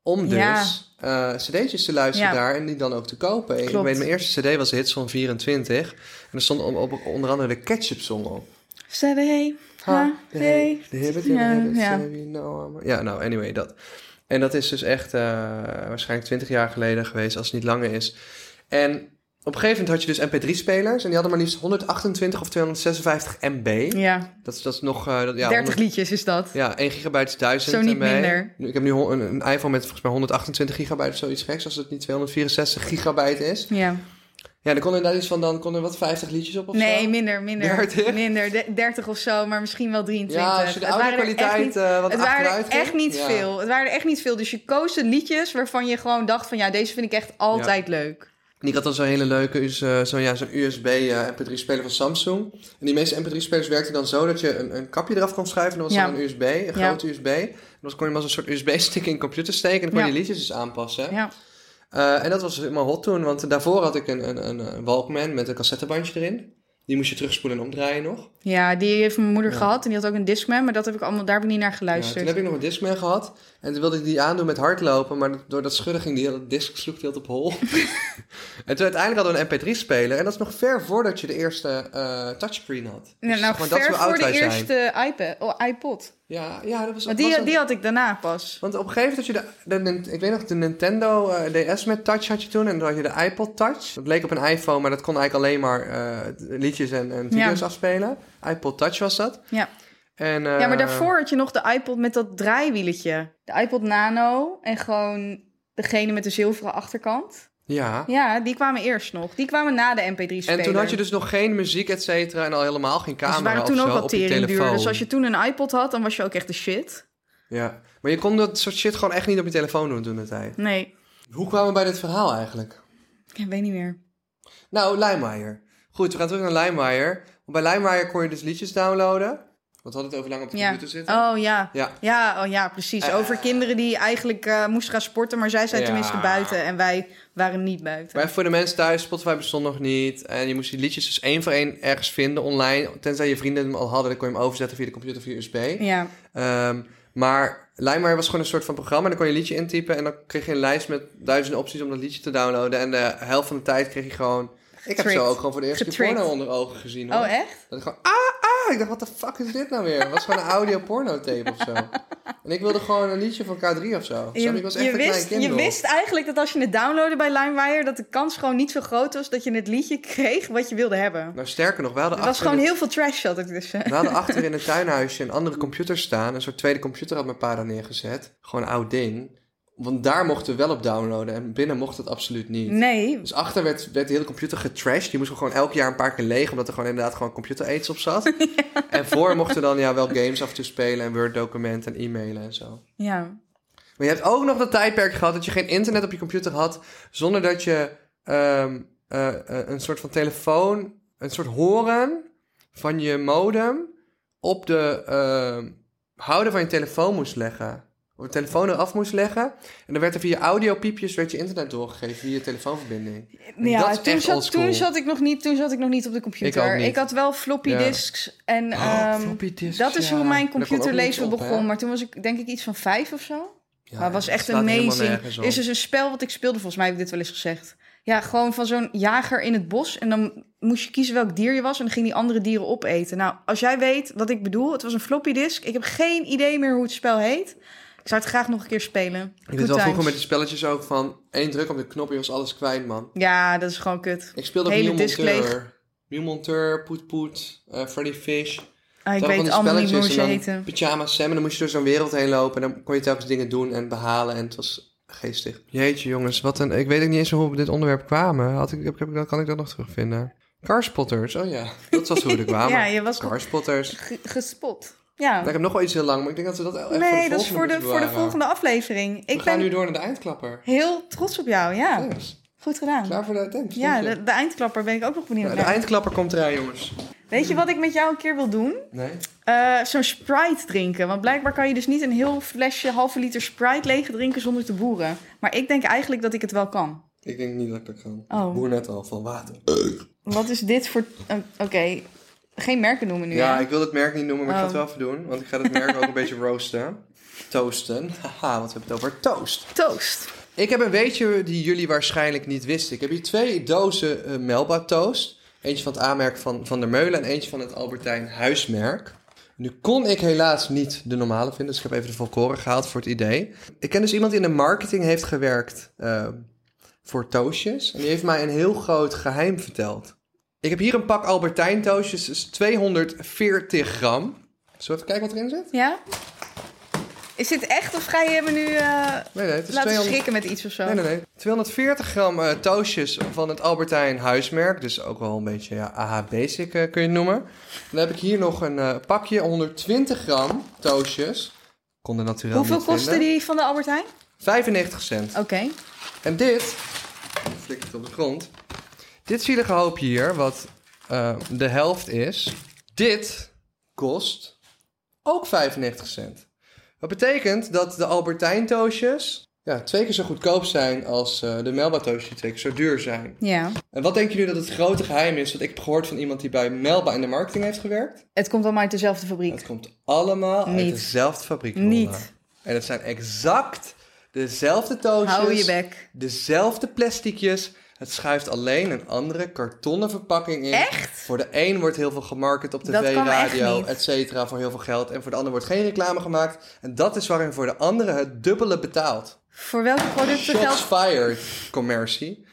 Speaker 1: Om dus
Speaker 2: Ja.
Speaker 1: eh, cd'tjes te luisteren
Speaker 2: Ja.
Speaker 1: daar en die dan ook te kopen. Ik
Speaker 2: Klopt.
Speaker 1: weet, mijn eerste cd was Hits van 24. En er stond op, op- onder andere de Ketchup Song op.
Speaker 2: Seven, hey,
Speaker 1: Ha,
Speaker 2: ha,
Speaker 1: de
Speaker 2: hey.
Speaker 1: hey, de hibbit,
Speaker 2: Ja,
Speaker 1: de hibbit,
Speaker 2: ja.
Speaker 1: say you know I'm- Ja, nou, anyway, dat. En dat is dus echt eh, waarschijnlijk 20 jaar geleden geweest, als het niet langer is. En op een gegeven moment had je dus MP3-spelers en die hadden maar liefst 128 of 256 MB.
Speaker 2: Ja,
Speaker 1: Dat, is, dat is nog... eh, dat, ja,
Speaker 2: 30
Speaker 1: 100
Speaker 2: liedjes is dat.
Speaker 1: ja, 1 gigabyte is 1000
Speaker 2: Zo niet
Speaker 1: MB.
Speaker 2: minder.
Speaker 1: Ik heb nu hon- een, een iPhone met volgens mij 128 gigabyte of zoiets geks, als het niet 264 gigabyte is.
Speaker 2: Ja.
Speaker 1: Ja, dan kon er inderdaad iets van, dan kon er wat 50 liedjes op of zo.
Speaker 2: Nee, minder, minder.
Speaker 1: 30?
Speaker 2: Minder, de- 30 of zo, maar misschien wel 23.
Speaker 1: Ja, als je de
Speaker 2: Het waren er echt
Speaker 1: audio-kwaliteit
Speaker 2: niet-
Speaker 1: eh, wat
Speaker 2: het waren er
Speaker 1: achteruit ging.
Speaker 2: echt niet
Speaker 1: Ja.
Speaker 2: veel. Het waren er echt niet veel. Dus je koos de liedjes waarvan je gewoon dacht van... ja, deze vind ik echt altijd leuk.
Speaker 1: En ik had dan zo'n hele leuke US- eh, zo'n ja, zo'n USB eh, MP3-speler van Samsung. En die meeste MP3-spelers werkten dan zo dat je een, een kapje eraf kon schuiven. En dat was
Speaker 2: Ja.
Speaker 1: dan een USB, een
Speaker 2: Ja.
Speaker 1: grote USB. En dan kon je hem als een soort USB-stick in je computer steken. En dan kon je
Speaker 2: Ja.
Speaker 1: die liedjes dus aanpassen.
Speaker 2: Ja,
Speaker 1: Eh, en dat was helemaal hot toen, want daarvoor had ik een, een, een, een Walkman met een cassettebandje erin. Die moest je terugspoelen en omdraaien nog.
Speaker 2: ja die heeft mijn moeder
Speaker 1: Ja.
Speaker 2: gehad. En die had ook een Discman, maar dat heb ik allemaal, daar heb ik niet naar
Speaker 1: Ja, toen
Speaker 2: geluisterd.
Speaker 1: heb ik nog een Discman gehad. En toen wilde ik die aandoen met hardlopen. Maar door dat schudden ging die hele disc sloeg die altijd op hol. en toen uiteindelijk hadden we een MP3-speler. En dat is nog ver voordat je de eerste eh, touchscreen had. Dus
Speaker 2: Nou, nou,
Speaker 1: gewoon, dat is
Speaker 2: ver
Speaker 1: hoe oud
Speaker 2: voor de
Speaker 1: wij zijn.
Speaker 2: eerste iPad, oh, iPod.
Speaker 1: Ja, ja, dat was,
Speaker 2: Want
Speaker 1: was
Speaker 2: die,
Speaker 1: een-
Speaker 2: die had ik daarna pas.
Speaker 1: Want op een gegeven moment had je de, de Nin- ik weet nog, de Nintendo eh, DS met touch had je toen. En dan had je de iPod touch. Dat leek op een iPhone, maar dat kon eigenlijk alleen maar eh, liedjes en, en video's afspelen. iPod touch was dat.
Speaker 2: Ja.
Speaker 1: En,
Speaker 2: Ja, maar
Speaker 1: eh,
Speaker 2: daarvoor had je nog de iPod met dat draaiwieletje. De iPod Nano en gewoon degene met de zilveren achterkant.
Speaker 1: Ja.
Speaker 2: Ja, die kwamen eerst nog. Die kwamen na de MP3-speler.
Speaker 1: En toen had je dus nog geen muziek, et cetera, en al helemaal geen
Speaker 2: dus
Speaker 1: camera
Speaker 2: ze waren toen
Speaker 1: of
Speaker 2: ook
Speaker 1: zo
Speaker 2: al
Speaker 1: op je
Speaker 2: tering duur.
Speaker 1: telefoon.
Speaker 2: Dus als je toen een iPod had, dan was je ook echt de shit.
Speaker 1: Ja, maar je kon dat soort shit gewoon echt niet op je telefoon doen toen de tijd.
Speaker 2: Nee,
Speaker 1: Hoe kwamen we bij dit verhaal eigenlijk?
Speaker 2: ik weet niet meer.
Speaker 1: Nou, LimeWire. Goed, we gaan terug naar LimeWire. Want bij LimeWire kon je dus liedjes downloaden. Want we hadden het over lang op de
Speaker 2: Ja.
Speaker 1: computer zitten.
Speaker 2: Oh ja.
Speaker 1: Ja.
Speaker 2: Ja, oh, ja, precies.
Speaker 1: Eh.
Speaker 2: Over kinderen die eigenlijk eh, moesten gaan sporten, maar zij zijn
Speaker 1: Ja.
Speaker 2: tenminste buiten en wij waren niet buiten.
Speaker 1: Maar even voor de mensen thuis, Spotify bestond nog niet. En je moest die liedjes dus één voor één ergens vinden online. Tenzij je vrienden hem al hadden, dan kon je hem overzetten via de computer via USB.
Speaker 2: Ja,
Speaker 1: Ehm, maar LimeWire was gewoon een soort van programma. En dan kon je een liedje intypen. En dan kreeg je een lijst met duizenden opties om dat liedje te downloaden. En de helft van de tijd kreeg je gewoon... Ik heb
Speaker 2: Getricked.
Speaker 1: zo ook gewoon voor de eerste
Speaker 2: Getricked.
Speaker 1: keer porno onder ogen gezien. Hoor.
Speaker 2: oh echt?
Speaker 1: Dat ik gewoon... Ah, ah! Ik dacht, wat de fuck is dit nou weer? Het was gewoon een audio porno tape of zo. En ik wilde gewoon een liedje van K3 of zo. Snap je? ik was echt een klein
Speaker 2: wist,
Speaker 1: kind
Speaker 2: je
Speaker 1: nog.
Speaker 2: wist eigenlijk dat als je het downloadde bij LimeWire, dat de kans gewoon niet zo groot was dat je het liedje kreeg wat je wilde hebben.
Speaker 1: Nou, sterker nog, we hadden,
Speaker 2: Er was
Speaker 1: achter
Speaker 2: gewoon
Speaker 1: in het-
Speaker 2: heel veel trash zat er tussen.
Speaker 1: we hadden achter in het tuinhuisje een andere computer staan. Een soort tweede computer had mijn pa daar neergezet. Gewoon een oud ding. Want daar mochten we wel op downloaden. En binnen mocht het absoluut niet.
Speaker 2: Nee,
Speaker 1: Dus achter werd, werd de hele computer getrashed. Die moest gewoon elk jaar een paar keer leeg, omdat er gewoon inderdaad gewoon computer aids op zat. En voor mochten dan ja, wel games af en toe spelen en Word-documenten en e-mailen en zo.
Speaker 2: ja.
Speaker 1: Maar je hebt ook nog dat tijdperk gehad dat je geen internet op je computer had, zonder dat je ehm, eh, eh, een soort van telefoon, een soort horen van je modem op de ehm, houder van je telefoon moest leggen. Of de telefoon eraf moest leggen. En dan werd er via audiopiepjes werd je internet doorgegeven via je telefoonverbinding.
Speaker 2: ja
Speaker 1: is
Speaker 2: toen,
Speaker 1: echt
Speaker 2: zat,
Speaker 1: oldschool.
Speaker 2: toen, zat ik nog niet, toen zat ik nog niet op de computer.
Speaker 1: Ik ook niet.
Speaker 2: had wel floppy
Speaker 1: Ja. Oh,
Speaker 2: disks en ehm,
Speaker 1: floppy disks,
Speaker 2: dat is
Speaker 1: ja.
Speaker 2: hoe
Speaker 1: Daar
Speaker 2: mijn
Speaker 1: kon ook
Speaker 2: computerleven
Speaker 1: niks op, hè?
Speaker 2: begon. Maar toen was ik denk ik iets van vijf of zo.
Speaker 1: Ja,
Speaker 2: maar het was
Speaker 1: het
Speaker 2: echt
Speaker 1: slaat helemaal
Speaker 2: amazing.
Speaker 1: nergens op.
Speaker 2: Er is dus een spel wat ik speelde, volgens mij heb ik dit wel eens gezegd. Ja, gewoon van zo'n jager in het bos. En dan moest je kiezen welk dier je was. En dan ging die andere dieren opeten. Nou, als jij weet wat ik bedoel, het was een floppy disk. Ik heb geen idee meer hoe het spel heet. Ik zou het graag nog een keer
Speaker 1: Ik
Speaker 2: spelen. Good
Speaker 1: deed wel vroeger
Speaker 2: times.
Speaker 1: met die spelletjes ook van één druk op de knop en je was alles kwijt, man.
Speaker 2: Ja, dat is gewoon kut.
Speaker 1: Ik speelde ook
Speaker 2: Hele
Speaker 1: Miel
Speaker 2: disc
Speaker 1: Monteur. Miel Monteur, Poet Poet, eh, Freddy Fish.
Speaker 2: Ah, ik
Speaker 1: Toen hadden we van
Speaker 2: weet
Speaker 1: die
Speaker 2: allemaal niet meer hoe
Speaker 1: spelletjes
Speaker 2: ze
Speaker 1: en dan
Speaker 2: heten.
Speaker 1: Pyjama Sam en dan moest je door zo'n wereld heen lopen en dan kon je telkens dingen doen en behalen en het was geestig. Jeetje jongens, wat een... Ik weet ook niet eens hoe we op dit onderwerp kwamen. Had ik, heb ik dat, kan ik dat nog terugvinden? Carspotters, oh ja. Dat was hoe we er kwamen.
Speaker 2: Ja, je was
Speaker 1: Carspotters.
Speaker 2: Ge- gespot. Ja.
Speaker 1: Nou, ik heb nog wel iets heel lang, maar ik denk dat we dat echt voor de
Speaker 2: nee,
Speaker 1: volgende
Speaker 2: dat is voor de,
Speaker 1: moeten
Speaker 2: voor de
Speaker 1: bewaren.
Speaker 2: volgende aflevering.
Speaker 1: We
Speaker 2: Ik
Speaker 1: gaan
Speaker 2: ben
Speaker 1: nu door naar de eindklapper.
Speaker 2: heel trots op jou. Ja,
Speaker 1: Yes.
Speaker 2: goed gedaan.
Speaker 1: Klaar voor de attempt?
Speaker 2: Ja,
Speaker 1: Dank je.
Speaker 2: de, de eindklapper ben ik ook nog benieuwd
Speaker 1: Nou, de
Speaker 2: naar.
Speaker 1: eindklapper komt eraan, jongens.
Speaker 2: Weet je wat ik met jou een keer wil doen?
Speaker 1: Nee?
Speaker 2: Eh, Zo'n Sprite drinken. Want blijkbaar kan je dus niet een heel flesje, halve liter Sprite leeg drinken zonder te boeren. Maar ik denk eigenlijk dat ik het wel kan.
Speaker 1: Ik denk niet dat ik dat kan.
Speaker 2: Oh.
Speaker 1: Ik boer net al van water.
Speaker 2: Wat is dit voor... eh, Oké, geen merken noemen nu.
Speaker 1: Ja,
Speaker 2: hè?
Speaker 1: ik wil het merk niet noemen, maar ik ga het
Speaker 2: Oh.
Speaker 1: wel even doen. Want ik ga het merk ook een beetje roosten. Toasten. Haha, wat hebben we het over? Toast.
Speaker 2: Toast.
Speaker 1: Ik heb een weetje die jullie waarschijnlijk niet wisten. Ik heb hier twee dozen eh, Melba toast. Eentje van het aanmerk van Van der Meulen en eentje van het Albertijn Huismerk. Nu kon ik helaas niet de normale vinden, dus ik heb even de volkoren gehaald voor het idee. Ik ken dus iemand die in de marketing heeft gewerkt eh, voor toastjes. En die heeft mij een heel groot geheim verteld. Ik heb hier een pak Albertijn toastjes, dus 240 gram. Zullen we even kijken wat erin zit?
Speaker 2: Ja? Is dit echt of ga je me nu eh,
Speaker 1: Nee, nee, het is
Speaker 2: laten
Speaker 1: 200
Speaker 2: schrikken met iets of zo?
Speaker 1: Nee, nee, nee. 240 gram eh, toastjes van het Albertijn huismerk. Dus ook wel een beetje ja, AH Basic eh, kun je het noemen. Dan heb ik hier nog een eh, pakje 120 gram toastjes. Kon er natuurlijk
Speaker 2: Hoeveel kostte die van de Albert Heijn?
Speaker 1: 95 cent.
Speaker 2: Oké.
Speaker 1: En dit, flik het op de grond. Dit zielige hoopje hier, wat eh, de helft is. Dit kost ook 95 cent. Dat betekent dat de Albertijn toastjes ja, twee keer zo goedkoop zijn als eh, de Melba toastjes die twee keer zo duur zijn.
Speaker 2: Ja.
Speaker 1: En wat denken jullie dat het grote geheim is? Want ik heb gehoord van iemand die bij Melba in de marketing heeft gewerkt.
Speaker 2: Het komt allemaal uit dezelfde fabriek.
Speaker 1: Het komt allemaal uit
Speaker 2: Niet.
Speaker 1: dezelfde fabriek.
Speaker 2: Niet.
Speaker 1: Lola. En het zijn exact dezelfde toastjes.
Speaker 2: Hou je bek.
Speaker 1: Dezelfde plasticjes. Het schuift alleen een andere kartonnen verpakking in.
Speaker 2: Echt?
Speaker 1: Voor de een wordt heel veel gemarket op tv,
Speaker 2: Dat kan echt
Speaker 1: radio,
Speaker 2: niet.
Speaker 1: et cetera, voor heel veel geld. En voor de ander wordt geen reclame gemaakt. En dat is waarin voor de andere het dubbele betaalt.
Speaker 2: Voor welke producten
Speaker 1: Shots
Speaker 2: geldt...
Speaker 1: fired, commercie.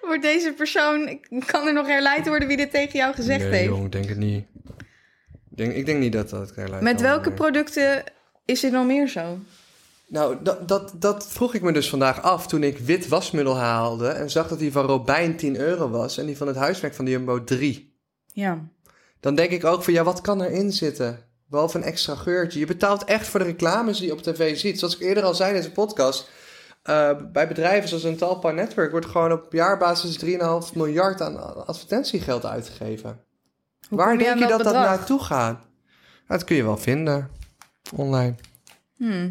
Speaker 2: Wordt deze persoon... Kan er nog herleid worden wie dit tegen jou gezegd heeft?
Speaker 1: ik denk het niet. Ik denk, ik denk niet dat dat kan lijken.
Speaker 2: Met welke
Speaker 1: Nee.
Speaker 2: producten is dit nog meer zo?
Speaker 1: Nou, dat, dat, dat vroeg ik me dus vandaag af toen ik wit wasmiddel haalde... en zag dat die van Robijn 10 euro was... en die van het huismerk van de Jumbo 3.
Speaker 2: Ja.
Speaker 1: Dan denk ik ook van ja, wat kan erin zitten? Behalve een extra geurtje. Je betaalt echt voor de reclames die je op tv ziet. Zoals ik eerder al zei in deze podcast. eh, bij bedrijven zoals een Talpa Network wordt gewoon op jaarbasis 3,5 miljard aan advertentiegeld uitgegeven. Waar
Speaker 2: kom je
Speaker 1: denk
Speaker 2: aan
Speaker 1: je dat
Speaker 2: dat
Speaker 1: dat
Speaker 2: bedrag?
Speaker 1: naartoe gaat? Nou, dat kun je wel vinden online.
Speaker 2: Hmm.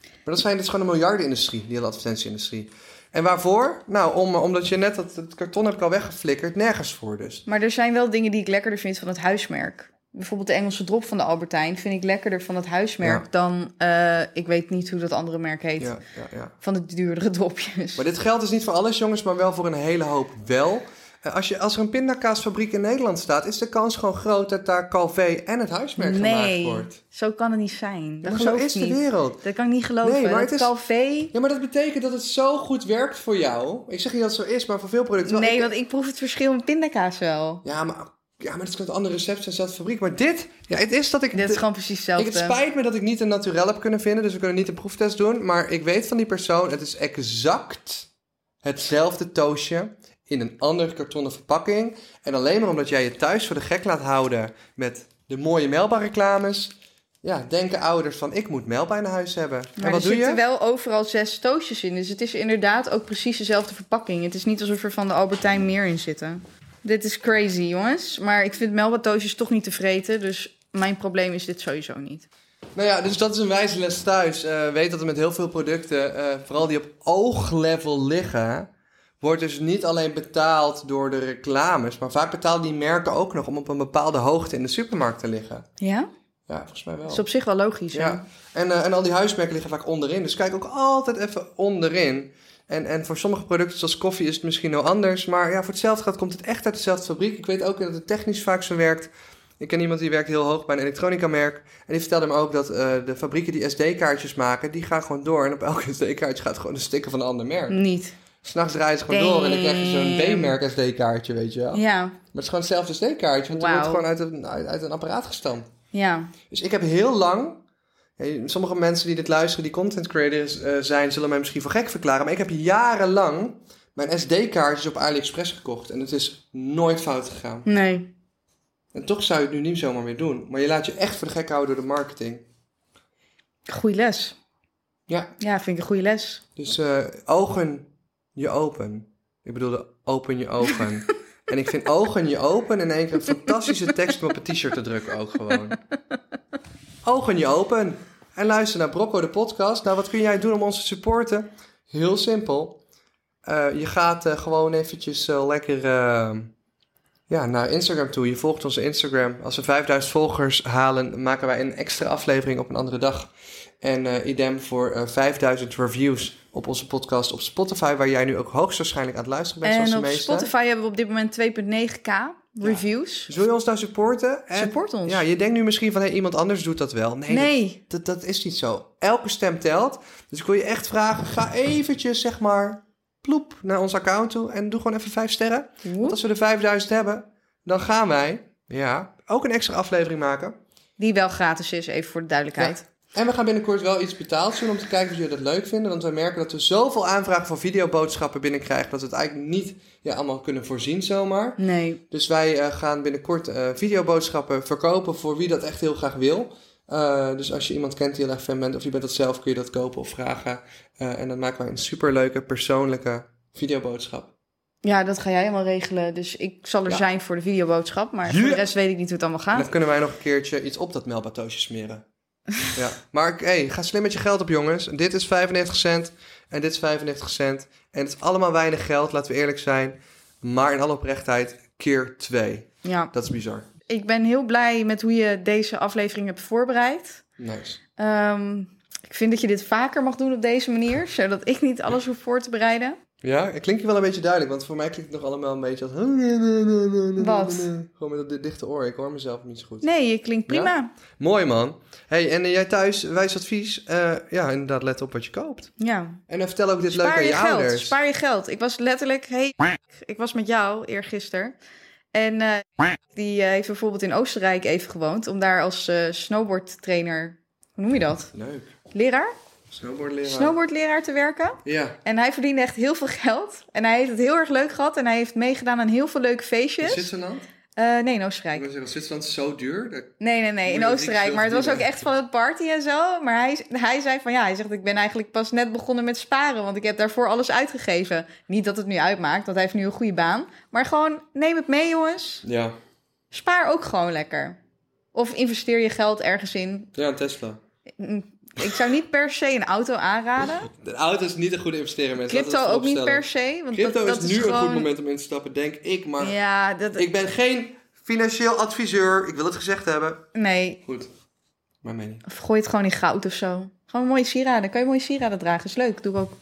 Speaker 1: Maar dat zijn dus gewoon een miljardenindustrie, die hele advertentieindustrie. En waarvoor? Nou, om, omdat je net dat, het karton hebt al weggeflikkerd, nergens voor dus.
Speaker 2: Maar er zijn wel dingen die ik lekkerder vind van het huismerk. Bijvoorbeeld de Engelse drop van de Albertijn vind ik lekkerder van het huismerk
Speaker 1: Ja.
Speaker 2: dan... eh, ik weet niet hoe dat andere merk heet.
Speaker 1: Ja, ja, ja.
Speaker 2: Van de duurdere dropjes.
Speaker 1: Maar dit geldt dus niet voor alles, jongens, maar wel voor een hele hoop wel. Eh, Als, je, als er een pindakaasfabriek in Nederland staat, is de kans gewoon groot dat daar Calvé en het huismerk gemaakt
Speaker 2: nee,
Speaker 1: wordt.
Speaker 2: zo kan het niet zijn.
Speaker 1: Ja,
Speaker 2: Dat
Speaker 1: maar zo
Speaker 2: geloof
Speaker 1: is
Speaker 2: ik
Speaker 1: de
Speaker 2: niet.
Speaker 1: wereld.
Speaker 2: Dat kan ik niet geloven.
Speaker 1: Nee, maar
Speaker 2: dat
Speaker 1: het is-
Speaker 2: Calvé...
Speaker 1: Ja, maar dat betekent dat het zo goed werkt voor jou. Ik zeg niet dat het zo is, maar voor veel producten. wel.
Speaker 2: Nee,
Speaker 1: Ik-
Speaker 2: want ik proef het verschil met pindakaas wel.
Speaker 1: Ja, maar, ja, maar dat is een ander recept en dezelfde fabriek. Maar dit, ja, het is dat ik.
Speaker 2: Dit is
Speaker 1: de-
Speaker 2: gewoon precies hetzelfde.
Speaker 1: ik, het spijt me dat ik niet een naturel heb kunnen vinden, dus we kunnen niet een proeftest doen. Maar ik weet van die persoon, het is exact hetzelfde toosje in een andere kartonnen verpakking. En alleen maar omdat jij je thuis voor de gek laat houden met de mooie Melba-reclames... Ja, denken ouders van, ik moet Melba in huis hebben.
Speaker 2: Maar
Speaker 1: en
Speaker 2: er
Speaker 1: wat doe
Speaker 2: zitten
Speaker 1: je?
Speaker 2: wel overal zes toosjes in. Dus het is inderdaad ook precies dezelfde verpakking. Het is niet alsof er van de Albertijn meer in zitten. Dit is crazy, jongens. Maar ik vind Melba toosjes toch niet te vreten. Dus mijn probleem is dit sowieso niet.
Speaker 1: Nou ja, dus dat is een wijze les thuis. Eh, weet dat er met heel veel producten, eh, vooral die op ooglevel liggen, wordt dus niet alleen betaald door de reclames, maar vaak betalen die merken ook nog om op een bepaalde hoogte in de supermarkt te liggen.
Speaker 2: Ja?
Speaker 1: Ja, volgens mij wel.
Speaker 2: Dat is op zich wel logisch. hè?
Speaker 1: Oh. Ja. En, eh, en al die huismerken liggen vaak onderin. Dus kijk ook altijd even onderin. En, en voor sommige producten, zoals koffie, is het misschien wel anders. Maar ja, voor hetzelfde geld komt het echt uit dezelfde fabriek. Ik weet ook dat het technisch vaak zo werkt. Ik ken iemand die werkt heel hoog bij een elektronica-merk. En die vertelde me ook dat eh, de fabrieken die SD-kaartjes maken, die gaan gewoon door. En op elke SD-kaartje gaat gewoon een sticker van een ander merk.
Speaker 2: Niet.
Speaker 1: S'nachts draaien ze gewoon door en dan krijg je zo'n
Speaker 2: Damn.
Speaker 1: B-merk SD-kaartje, weet je wel. Maar
Speaker 2: Ja,
Speaker 1: het is gewoon hetzelfde SD-kaartje, want het
Speaker 2: Wauw.
Speaker 1: wordt gewoon uit een, uit, uit een apparaat gestampt.
Speaker 2: ja.
Speaker 1: Dus ik heb heel lang. eh, Sommige mensen die dit luisteren, die content creators eh, zijn, zullen mij misschien voor gek verklaren. Maar ik heb jarenlang mijn SD-kaartjes op AliExpress gekocht. En het is nooit fout gegaan.
Speaker 2: Nee.
Speaker 1: En toch zou je het nu niet zomaar meer doen. Maar je laat je echt voor de gek houden door de marketing.
Speaker 2: Goeie les.
Speaker 1: Ja,
Speaker 2: Ja, vind ik een goede les.
Speaker 1: dus eh, ogen je open. Ik bedoelde open je ogen. en ik vind ogen je open in één keer een fantastische tekst om op een t-shirt te drukken ook gewoon. Ogen je open. En luister naar Brocco de podcast. Nou, wat kun jij doen om ons te supporten? Heel simpel. Eh, je gaat eh, gewoon eventjes eh, lekker eh, ja, naar Instagram toe. Je volgt onze Instagram. Als we 5000 volgers halen, maken wij een extra aflevering op een andere dag. En eh, idem voor eh, 5000 reviews op onze podcast op Spotify, waar jij nu ook hoogstwaarschijnlijk aan het luisteren bent.
Speaker 2: en
Speaker 1: zoals
Speaker 2: op
Speaker 1: de meeste.
Speaker 2: Spotify hebben we op dit moment 2,9k. Reviews.
Speaker 1: Dus wil je ons nou supporten? En-
Speaker 2: Support ons.
Speaker 1: Ja, je denkt nu misschien van hey, iemand anders doet dat wel. Nee,
Speaker 2: nee.
Speaker 1: Dat, dat is niet zo. Elke stem telt. Dus ik wil je echt vragen, ga eventjes zeg maar ploep naar ons account toe en doe gewoon even vijf sterren. Want als we de 5000 hebben, dan gaan wij ja, ook een extra aflevering maken.
Speaker 2: Die wel gratis is, even voor de duidelijkheid.
Speaker 1: En we gaan binnenkort wel iets betaald doen om te kijken of jullie dat leuk vinden. Want we merken dat we zoveel aanvragen van videoboodschappen binnenkrijgen dat we het eigenlijk niet ja, allemaal kunnen voorzien zomaar.
Speaker 2: Nee.
Speaker 1: Dus wij eh, gaan binnenkort eh, videoboodschappen verkopen voor wie dat echt heel graag wil. Eh, dus als je iemand kent die heel erg fan bent of je bent dat zelf, kun je dat kopen of vragen. Eh, en dan maken wij een superleuke persoonlijke videoboodschap.
Speaker 2: Ja, dat ga jij helemaal regelen. Dus ik zal er
Speaker 1: Ja.
Speaker 2: zijn voor de videoboodschap. Maar voor
Speaker 1: Ja.
Speaker 2: de rest weet ik niet hoe het allemaal
Speaker 1: En
Speaker 2: gaat.
Speaker 1: dan kunnen wij nog een keertje iets op dat melbatoosje smeren. ja. Maar hey, ga slim met je geld op, jongens. Dit is 95 cent en dit is 95 cent. En het is allemaal weinig geld, laten we eerlijk zijn. Maar in alle oprechtheid, keer 2.
Speaker 2: Ja.
Speaker 1: Dat is bizar.
Speaker 2: Ik ben heel blij met hoe je deze aflevering hebt voorbereid.
Speaker 1: Nice.
Speaker 2: Ehm, ik vind dat je dit vaker mag doen op deze manier. Zodat ik niet alles hoef voor te bereiden.
Speaker 1: Ja, het klinkt je wel een beetje duidelijk, want voor mij klinkt het nog allemaal een beetje als...
Speaker 2: Wat?
Speaker 1: Gewoon met dat di- dichte oor, ik hoor mezelf niet zo goed.
Speaker 2: Nee, je klinkt prima.
Speaker 1: Mooi man. hey, en eh, jij thuis, wijs advies. eh, ja, inderdaad, let op wat je koopt.
Speaker 2: Ja.
Speaker 1: En eh, vertel ook dit leuk
Speaker 2: Spaar
Speaker 1: aan
Speaker 2: je,
Speaker 1: je,
Speaker 2: geld.
Speaker 1: ouders.
Speaker 2: Spaar je geld. Ik was letterlijk... Hey, ik was met jou eergisteren. En eh, die eh, heeft bijvoorbeeld in Oostenrijk even gewoond. Om daar als eh, snowboardtrainer... Hoe noem je dat?
Speaker 1: Leuk.
Speaker 2: Leraar?
Speaker 1: Snowboardleraar.
Speaker 2: Snowboardleraar te werken.
Speaker 1: Ja,
Speaker 2: En hij verdiende echt heel veel geld. En hij heeft het heel erg leuk gehad. En hij heeft meegedaan aan heel veel leuke
Speaker 1: in
Speaker 2: feestjes.
Speaker 1: Zwitserland.
Speaker 2: Eh, nee, in
Speaker 1: Ik
Speaker 2: Oostenrijk.
Speaker 1: wil zeggen, Zwitserland is zo duur. dat-
Speaker 2: Nee, nee, nee,
Speaker 1: Moet
Speaker 2: in
Speaker 1: je ook
Speaker 2: Oostenrijk.
Speaker 1: niks
Speaker 2: Maar het was ook
Speaker 1: verdienen.
Speaker 2: echt van het party en zo. Maar hij, hij zei van ja, hij zegt ik ben eigenlijk pas net begonnen met sparen. Want ik heb daarvoor alles uitgegeven. Niet dat het nu uitmaakt, want hij heeft nu een goede baan. Maar gewoon neem het mee jongens.
Speaker 1: Ja.
Speaker 2: Spaar ook gewoon lekker. Of investeer je geld ergens in.
Speaker 1: ja, een Tesla.
Speaker 2: Ik zou niet per se een auto aanraden.
Speaker 1: De auto is niet een goede investering, mensen. Laten we
Speaker 2: Crypto
Speaker 1: dat
Speaker 2: ook niet
Speaker 1: vooropstellen.
Speaker 2: per se. Want
Speaker 1: Crypto
Speaker 2: dat,
Speaker 1: is
Speaker 2: dat
Speaker 1: nu
Speaker 2: gewoon...
Speaker 1: een goed moment om in te stappen, denk ik. Maar
Speaker 2: Ja, dat,
Speaker 1: ik ben geen financieel adviseur. Ik wil het gezegd hebben.
Speaker 2: nee,
Speaker 1: Goed. Maar mening.
Speaker 2: Of gooi het gewoon in goud of zo. Gewoon mooie sieraden. Kan je mooie sieraden dragen. Is leuk. Doe ik ook.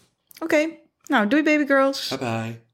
Speaker 2: Oké. Nou, doei baby girls.
Speaker 1: Bye bye.